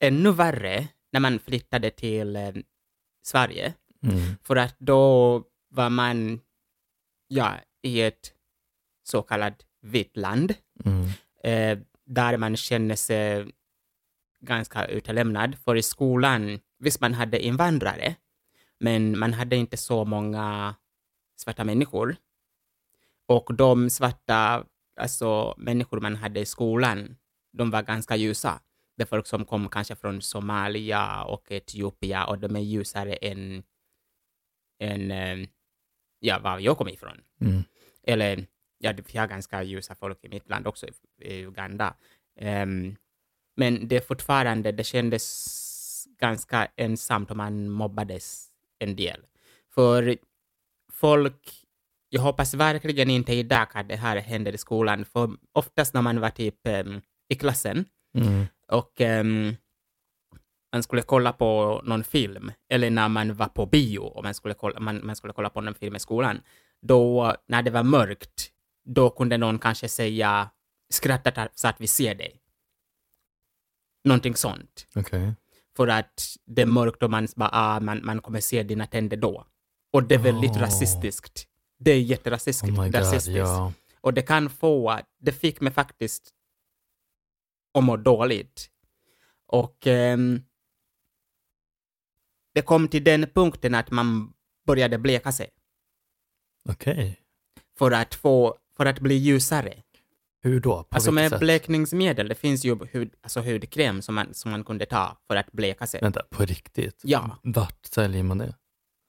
Speaker 2: ännu värre när man flyttade till eh, Sverige.
Speaker 1: Mm,
Speaker 2: För att då var man ja, i ett så kallat vitt land
Speaker 1: mm,
Speaker 2: eh, där man känner sig ganska utelämnad. För i skolan, visst man hade invandrare, men man hade inte så många svarta människor. Och de svarta alltså, människor man hade i skolan, de var ganska ljusa. Det är folk som kom kanske från Somalia och Etiopia och de är ljusare än, än eh, ja, var jag kom ifrån
Speaker 1: mm,
Speaker 2: eller ja, det- vi har ganska ljusa folk i mitt land också, i- i Uganda. Ehm, men det är fortfarande, det kändes ganska ensamt och man mobbades en del. För folk, jag hoppas verkligen inte idag att det här händer i skolan, för oftast när man var typ ehm, i klassen
Speaker 1: Mm.
Speaker 2: och ehm, man skulle kolla på någon film, eller när man var på bio och man skulle kolla, man, man skulle kolla på någon film i skolan, då när det var mörkt, då kunde någon kanske säga skratta ta- så att vi ser dig. Någonting sånt.
Speaker 1: Okej. Oh
Speaker 2: För att det är mörkt och man, bara, ah, man, man kommer se dina tänder då. Och det är väldigt
Speaker 1: Oh.
Speaker 2: rasistiskt. Det är jätterasistiskt.
Speaker 1: Oh my god,
Speaker 2: Typ rasistiskt.
Speaker 1: ja.
Speaker 2: Och det kan få, det fick mig faktiskt att må dåligt. Och ehm, det kom till den punkten att man började bleka sig
Speaker 1: Okej.
Speaker 2: för att, få, för att bli ljusare.
Speaker 1: Hur då? På
Speaker 2: alltså
Speaker 1: vilket
Speaker 2: med
Speaker 1: sätt?
Speaker 2: blekningsmedel, det finns ju hud, alltså hudkräm som man, som man kunde ta för att bleka sig.
Speaker 1: Vänta, på riktigt?
Speaker 2: Ja.
Speaker 1: Vart säljer man det?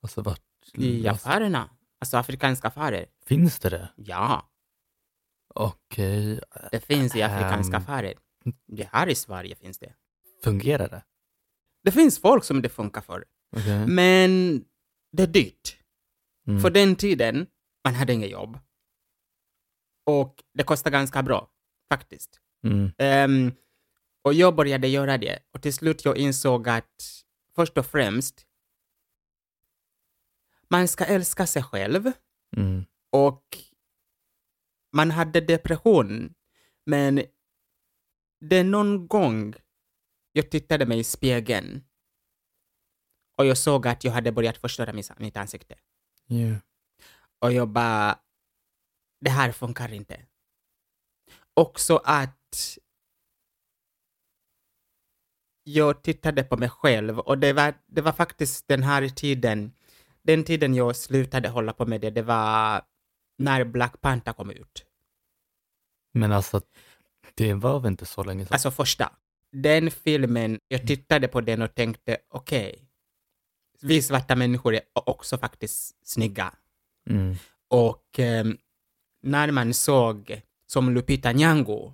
Speaker 1: Alltså vart?
Speaker 2: I
Speaker 1: alltså,
Speaker 2: affärerna, alltså afrikanska affärer.
Speaker 1: finns det det?
Speaker 2: Ja,
Speaker 1: Okej.
Speaker 2: det finns i afrikanska
Speaker 1: Ehm.
Speaker 2: affärer. Det här i Sverige finns det.
Speaker 1: Fungerar det? Mm,
Speaker 2: Det finns folk som det funkar för.
Speaker 1: Okej.
Speaker 2: Men det är dyrt.
Speaker 1: Mm.
Speaker 2: För den tiden, man hade inget jobb. Och det kostade ganska bra, faktiskt.
Speaker 1: Mm.
Speaker 2: Ehm, och jag började göra det. Och till slut jag insåg att, först och främst, man ska älska sig själv.
Speaker 1: Mm.
Speaker 2: Och man hade depression. Men det är någon gång jag tittade mig i spegeln och jag såg att jag hade börjat förstöra mis- mitt ansikte.
Speaker 1: Yeah.
Speaker 2: Och jag bara, det här funkar inte. Också att jag tittade på mig själv och det var, det var faktiskt den här tiden, den tiden jag slutade hålla på med det, det var när Black Panther kom ut.
Speaker 1: Men alltså, det var väl inte så länge sedan?
Speaker 2: Alltså första. Den filmen, jag tittade på den och tänkte, okej, vi svarta människor är också faktiskt snygga.
Speaker 1: mm.
Speaker 2: Och eh, när man såg som Lupita Nyong'o,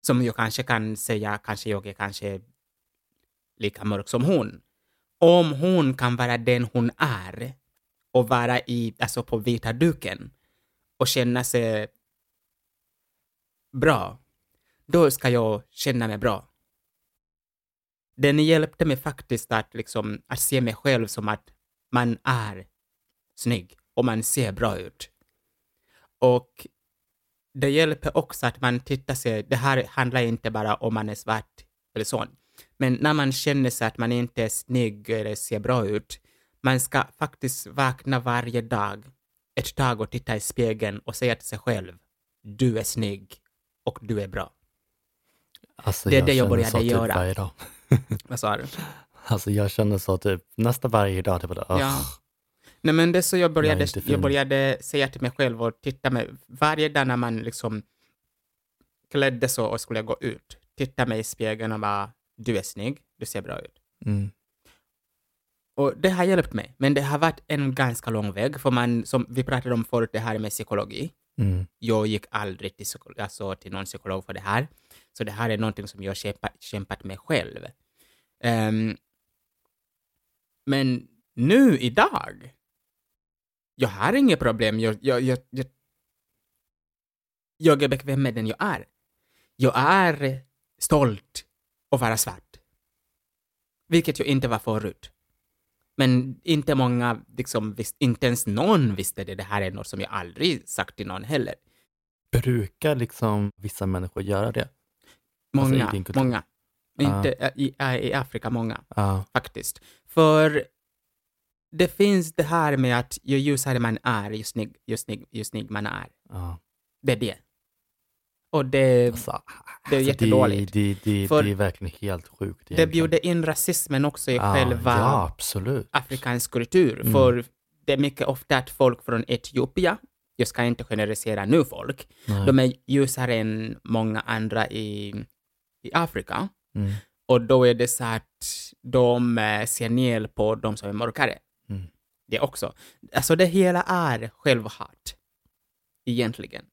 Speaker 2: som jag kanske kan säga, kanske jag är kanske lika mörk som hon. Om hon kan vara den hon är och vara i, alltså på vita duken och känna sig bra, då ska jag känna mig bra. Den hjälpte mig faktiskt att, liksom, att se mig själv som att man är snygg och man ser bra ut. Och det hjälper också att man tittar sig, det här handlar inte bara om man är svart eller sån, men när man känner sig att man inte är snygg eller ser bra ut, man ska faktiskt vakna varje dag ett tag och titta i spegeln och säga till sig själv, du är snygg och du är bra.
Speaker 1: alltså
Speaker 2: det är det jag
Speaker 1: känner
Speaker 2: började
Speaker 1: så typ
Speaker 2: göra.
Speaker 1: Varje dag.
Speaker 2: Vad sa du?
Speaker 1: Alltså jag känner så typ nästan varje dag. Typ, bara, "Ugh."
Speaker 2: Ja. Nej, men det är så jag
Speaker 1: Nej,
Speaker 2: började,
Speaker 1: inte fin.
Speaker 2: jag började säga till mig själv och titta mig, varje dag när man liksom klädde så och skulle gå ut, titta mig i spegeln och bara, du är snygg, du ser bra ut.
Speaker 1: Mm.
Speaker 2: Och det har hjälpt mig, men det har varit en ganska lång väg, för man, som vi pratade om förut, det här med psykologi.
Speaker 1: Mm.
Speaker 2: Jag gick aldrig till, psyko- alltså, till någon psykolog för det här, så det här är någonting som jag kämpat, kämpat med själv. Ehm, men nu idag, jag har inga problem. Jag, jag, jag, jag, jag är bekväm med den jag är. Jag är stolt att vara svart. Vilket jag inte var förut. Men inte många, liksom, visst, inte ens någon visste det. Det här är något som jag aldrig sagt till någon heller.
Speaker 1: Brukar liksom vissa människor göra det? Alltså,
Speaker 2: Många,
Speaker 1: i din kultur.
Speaker 2: många.
Speaker 1: Ah.
Speaker 2: Inte ä, i, ä, i Afrika, många.
Speaker 1: Ja.
Speaker 2: faktiskt. För det finns det här med att ju ljusare man är, ju snygg, ju snygg, ju snygg man är.
Speaker 1: ja.
Speaker 2: Det är det. Och det,
Speaker 1: Alltså,
Speaker 2: det är jättedåligt.
Speaker 1: Det, det, det,
Speaker 2: För-
Speaker 1: det är verkligen helt sjukt.
Speaker 2: det
Speaker 1: egentligen.
Speaker 2: bjuder in rasismen också i
Speaker 1: Ah,
Speaker 2: själva
Speaker 1: Ja, absolut.
Speaker 2: afrikansk kultur.
Speaker 1: Mm.
Speaker 2: För det är mycket ofta att folk från Etiopien, jag ska inte generalisera nu folk,
Speaker 1: Nej.
Speaker 2: de är ljusare än många andra i, i Afrika.
Speaker 1: Mm.
Speaker 2: Och då är det så att de eh, ser ner på de som är mörkare.
Speaker 1: Mm.
Speaker 2: Det också. Alltså det hela är självhat egentligen.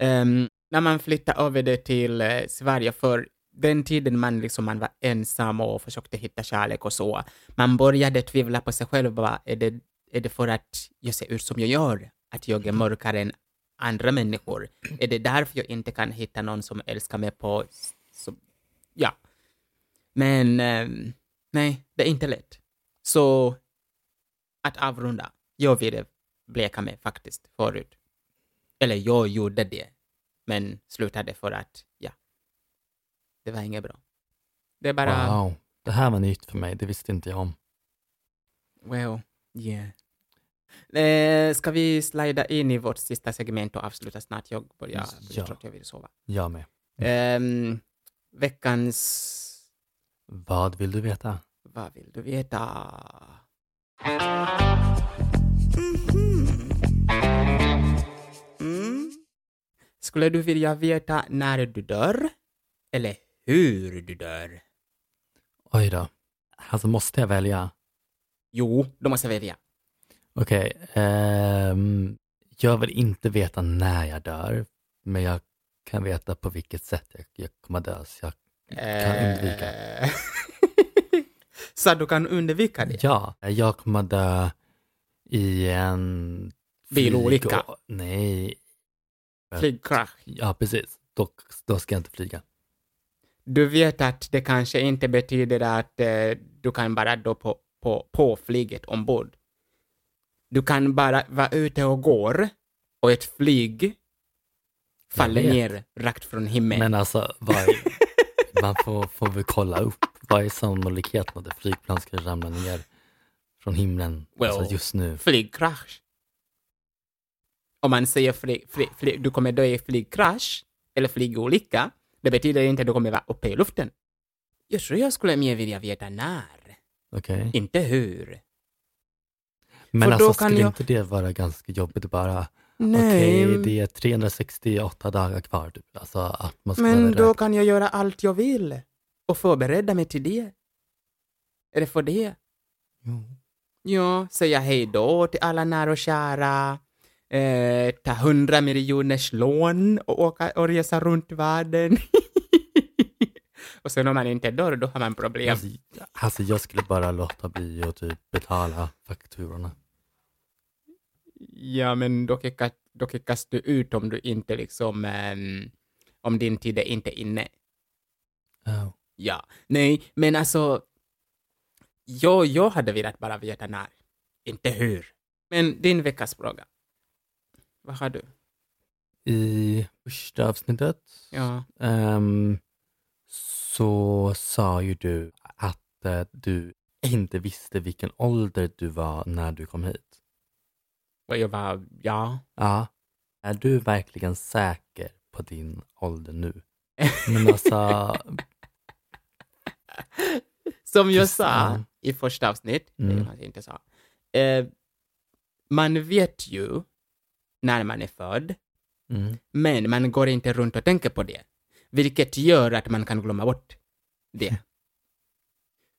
Speaker 2: Ehm, när man flyttade över det till eh, Sverige, för den tiden man, liksom, man var ensam och försökte hitta kärlek och så, man började tvivla på sig själv. Bara, är, det, är det för att jag ser ut som jag gör? Att jag är mörkare än andra människor? Är det därför jag inte kan hitta någon som älskar mig på... s- Som, ja. Men ehm, nej, det är inte lätt. Så att avrunda. Jag ville bleka mig faktiskt förut. Eller jag gjorde det, men slutade för att, ja, det var inget bra. Det är bara...
Speaker 1: Wow, det här var nytt för mig, det visste inte jag om.
Speaker 2: Well, yeah. Eh, ska vi slida in i vårt sista segment och avsluta snart? Jag börjar,
Speaker 1: Ja.
Speaker 2: jag tror att jag vill sova.
Speaker 1: Jag med.
Speaker 2: Ehm, veckans...
Speaker 1: Vad vill du veta?
Speaker 2: Vad vill du veta? Mm-hmm. Skulle du vilja veta när du dör? Eller hur du dör?
Speaker 1: Oj då. Alltså måste jag välja?
Speaker 2: Jo, då måste jag välja.
Speaker 1: Okej, ehm, jag vill inte veta när jag dör, men jag kan veta på vilket sätt jag, jag kommer dö. Så jag, Kan undvika.
Speaker 2: Eh, <laughs> Så du kan undvika det?
Speaker 1: ja, jag kommer dö i en...
Speaker 2: Bilolycka.
Speaker 1: flyg- och- Nej,
Speaker 2: Flygkrasch.
Speaker 1: ja precis. Då, då ska jag inte flyga.
Speaker 2: Du vet att det kanske inte betyder att eh, du kan bara då på, på, på flyget ombord. Du kan bara vara ute och går och ett flyg faller
Speaker 1: Jag vet.
Speaker 2: ner rakt från himlen.
Speaker 1: Men alltså, vad
Speaker 2: <laughs>
Speaker 1: är, man får, får väl kolla upp. Vad är sannolikheten att ett flygplan skulle ramla ner från himlen
Speaker 2: Well.
Speaker 1: alltså just nu?
Speaker 2: Flygkrasch. Om man säger fly, fly, fly, du kommer dö i flygkrasch eller flygolycka, det betyder inte att du kommer vara uppe i luften. Jag tror jag skulle mer vilja veta när,
Speaker 1: Okej.
Speaker 2: inte hur.
Speaker 1: Men
Speaker 2: För då
Speaker 1: alltså
Speaker 2: kan
Speaker 1: skulle
Speaker 2: jag-
Speaker 1: inte det vara ganska jobbigt att bara, okej det är 368 dagar kvar typ. Alltså att man ska
Speaker 2: Men
Speaker 1: behöva
Speaker 2: då
Speaker 1: räkna-
Speaker 2: kan jag göra allt jag vill och förbereda mig till det. Är det för det?
Speaker 1: Jo.
Speaker 2: Ja, säga hej då till alla nära och kära, eh, ta hundra miljoners lån och åka och resa runt världen. <laughs> och sen om man inte dör, då har man problem.
Speaker 1: Alltså, alltså jag skulle bara låta bli och typ betala fakturorna.
Speaker 2: Ja, men då kickas, då kickas du ut om du inte liksom, ehm, om din tid är inte inne.
Speaker 1: Ja.
Speaker 2: Ja, nej, men alltså. Jag, jag hade velat bara veta när, inte hur. Men din veckas fråga. Vad har du?
Speaker 1: I första avsnittet
Speaker 2: Ja,
Speaker 1: ehm, så sa ju du att eh, du inte visste vilken ålder du var när du kom hit.
Speaker 2: och jag var ja.
Speaker 1: Ja. Är du verkligen säker på din ålder nu? Men alltså,
Speaker 2: Som jag
Speaker 1: Just-
Speaker 2: sa
Speaker 1: ja.
Speaker 2: i första avsnitt,
Speaker 1: Mm.
Speaker 2: det jag kanske inte sa. Eh, man vet ju när man är född,
Speaker 1: mm,
Speaker 2: men man går inte runt och tänker på det. Vilket gör att man kan glömma bort det.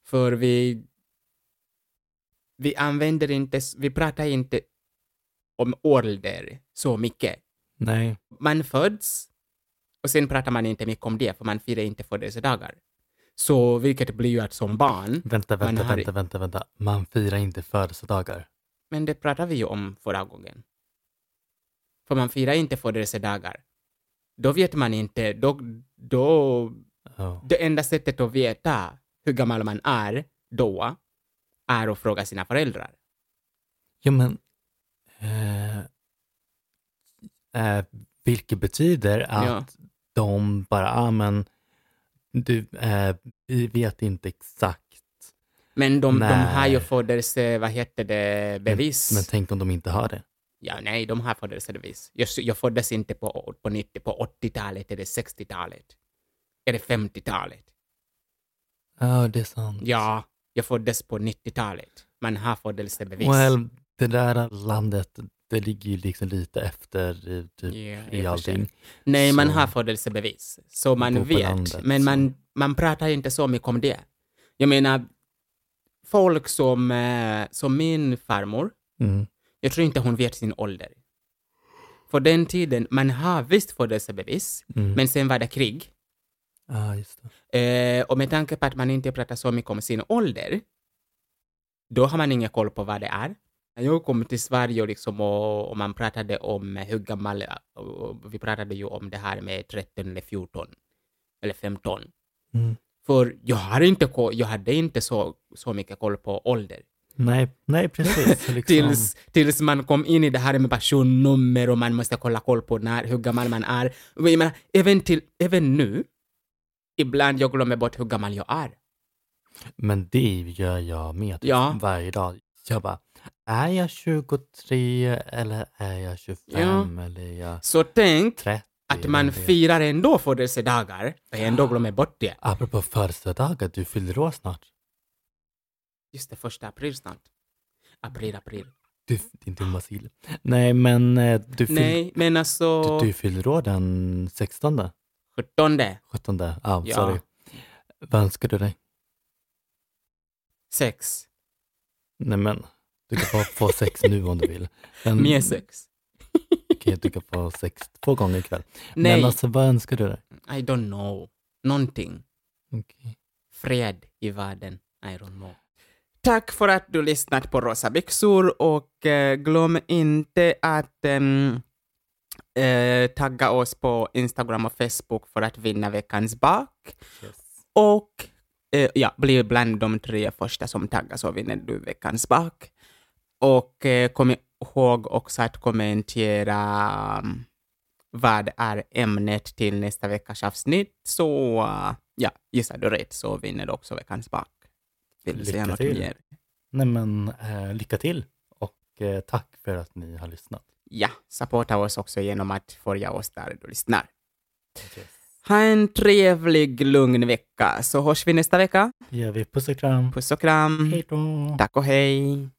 Speaker 2: För vi, vi använder inte, s- vi pratar inte om ålder så mycket.
Speaker 1: nej.
Speaker 2: Man föds och sen pratar man inte mycket om det för man firar inte födelsedagar. Så vilket blir ju att som barn,
Speaker 1: Vänta,
Speaker 2: Men
Speaker 1: vänta,
Speaker 2: Harry-
Speaker 1: vänta, vänta, vänta. Man firar inte födelsedagar.
Speaker 2: men det pratade vi ju om förra gången. För man firar inte födelsedagar. Då vet man inte, då, då
Speaker 1: Ja.
Speaker 2: det enda sättet att veta hur gammal man är då är att fråga sina föräldrar.
Speaker 1: Jo, men... Eh, eh, vilket betyder att
Speaker 2: Ja.
Speaker 1: de bara, ah, men du, eh, vi vet inte exakt.
Speaker 2: Men de, de
Speaker 1: Nej.
Speaker 2: har ju födelse, vad heter det, bevis.
Speaker 1: Men tänk om de inte har det.
Speaker 2: ja, nej, de har födelsebevis. Jag, jag föddes inte på, på, 90, på 80-talet, eller 60-talet, eller 50-talet.
Speaker 1: Ja, det är sant.
Speaker 2: Ja, jag föddes på 90-talet. Man har födelsebevis.
Speaker 1: Well, det där landet, det ligger ju liksom lite efter i, typ,
Speaker 2: Yeah, i
Speaker 1: i
Speaker 2: och för sig.
Speaker 1: allting.
Speaker 2: nej, man
Speaker 1: så-
Speaker 2: har födelsebevis, så man
Speaker 1: Bor på
Speaker 2: vet.
Speaker 1: landet,
Speaker 2: men
Speaker 1: så.
Speaker 2: man, man pratar inte så mycket om det. Jag menar, folk som, eh, som min farmor,
Speaker 1: Mm.
Speaker 2: jag tror inte hon vet sin ålder. För den tiden, man har visst födelsebevis,
Speaker 1: Mm.
Speaker 2: men sen var det krig.
Speaker 1: ah, just det.
Speaker 2: Eh, och med tanke på att man inte pratar så mycket om sin ålder, då har man ingen koll på vad det är. När jag kom till Sverige och, liksom, och, och man pratade om hur gammal, och vi pratade ju om det här med 13 eller 14 eller 15.
Speaker 1: Mm.
Speaker 2: För jag, har inte, ko- jag hade inte så, så mycket koll på ålder.
Speaker 1: Nej, nej, <laughs> precis. Liksom.
Speaker 2: Tills, tills man kom in i det här med personnummer och man måste kolla koll på när, hur gammal man är. Och Jag menar, även, till, även nu, ibland jag glömmer bort hur gammal jag är.
Speaker 1: Men det gör jag med
Speaker 2: Ja.
Speaker 1: varje dag. Jag bara, är jag 23 eller är jag 25 eller är jag
Speaker 2: Så tänk
Speaker 1: 30?
Speaker 2: att man
Speaker 1: eller det-
Speaker 2: firar ändå födelsedagar och ändå glömmer bort det.
Speaker 1: Apropå födelsedagar, du fyller år snart.
Speaker 2: Just det, första april snart. April, april.
Speaker 1: Du, din dumma sill. Nej, men eh, du, fyll,
Speaker 2: Nej, men alltså...
Speaker 1: du, du fyller år den 16,
Speaker 2: 17,
Speaker 1: 17. Ah,
Speaker 2: Ja.
Speaker 1: Sorry. Vad önskar du dig?
Speaker 2: 6,
Speaker 1: Nej men, du kan få, få sex nu om du vill. Men,
Speaker 2: <laughs> mer 6.
Speaker 1: okej, du kan få sex två gånger ikväll.
Speaker 2: Nej,
Speaker 1: Men alltså, vad önskar du dig?
Speaker 2: I don't know. Någonting.
Speaker 1: Okej.
Speaker 2: fred i världen. I don't know. Tack för att du lyssnat på Rosa byxor och eh, glöm inte att ehm, eh, tagga oss på Instagram och Facebook för att vinna veckans bak. Och eh, ja, bli bland de tre första som taggar så vinner du veckans bak. Och eh, kom ihåg också att kommentera mm, vad är ämnet till nästa veckas avsnitt. Så eh, ja, gissar du rätt så vinner du också veckans bak. Vill du säga
Speaker 1: Lycka
Speaker 2: något
Speaker 1: till.
Speaker 2: mer?
Speaker 1: Nej men, eh, lycka till och eh, tack för att ni har lyssnat.
Speaker 2: Ja, supporta oss också genom att följa oss där du lyssnar. Ha en trevlig, lugn vecka, så hörs vi nästa vecka. Mm.
Speaker 1: Ja, vi puss och kram.
Speaker 2: Puss och kram.
Speaker 1: Hej då.
Speaker 2: Tack och hej.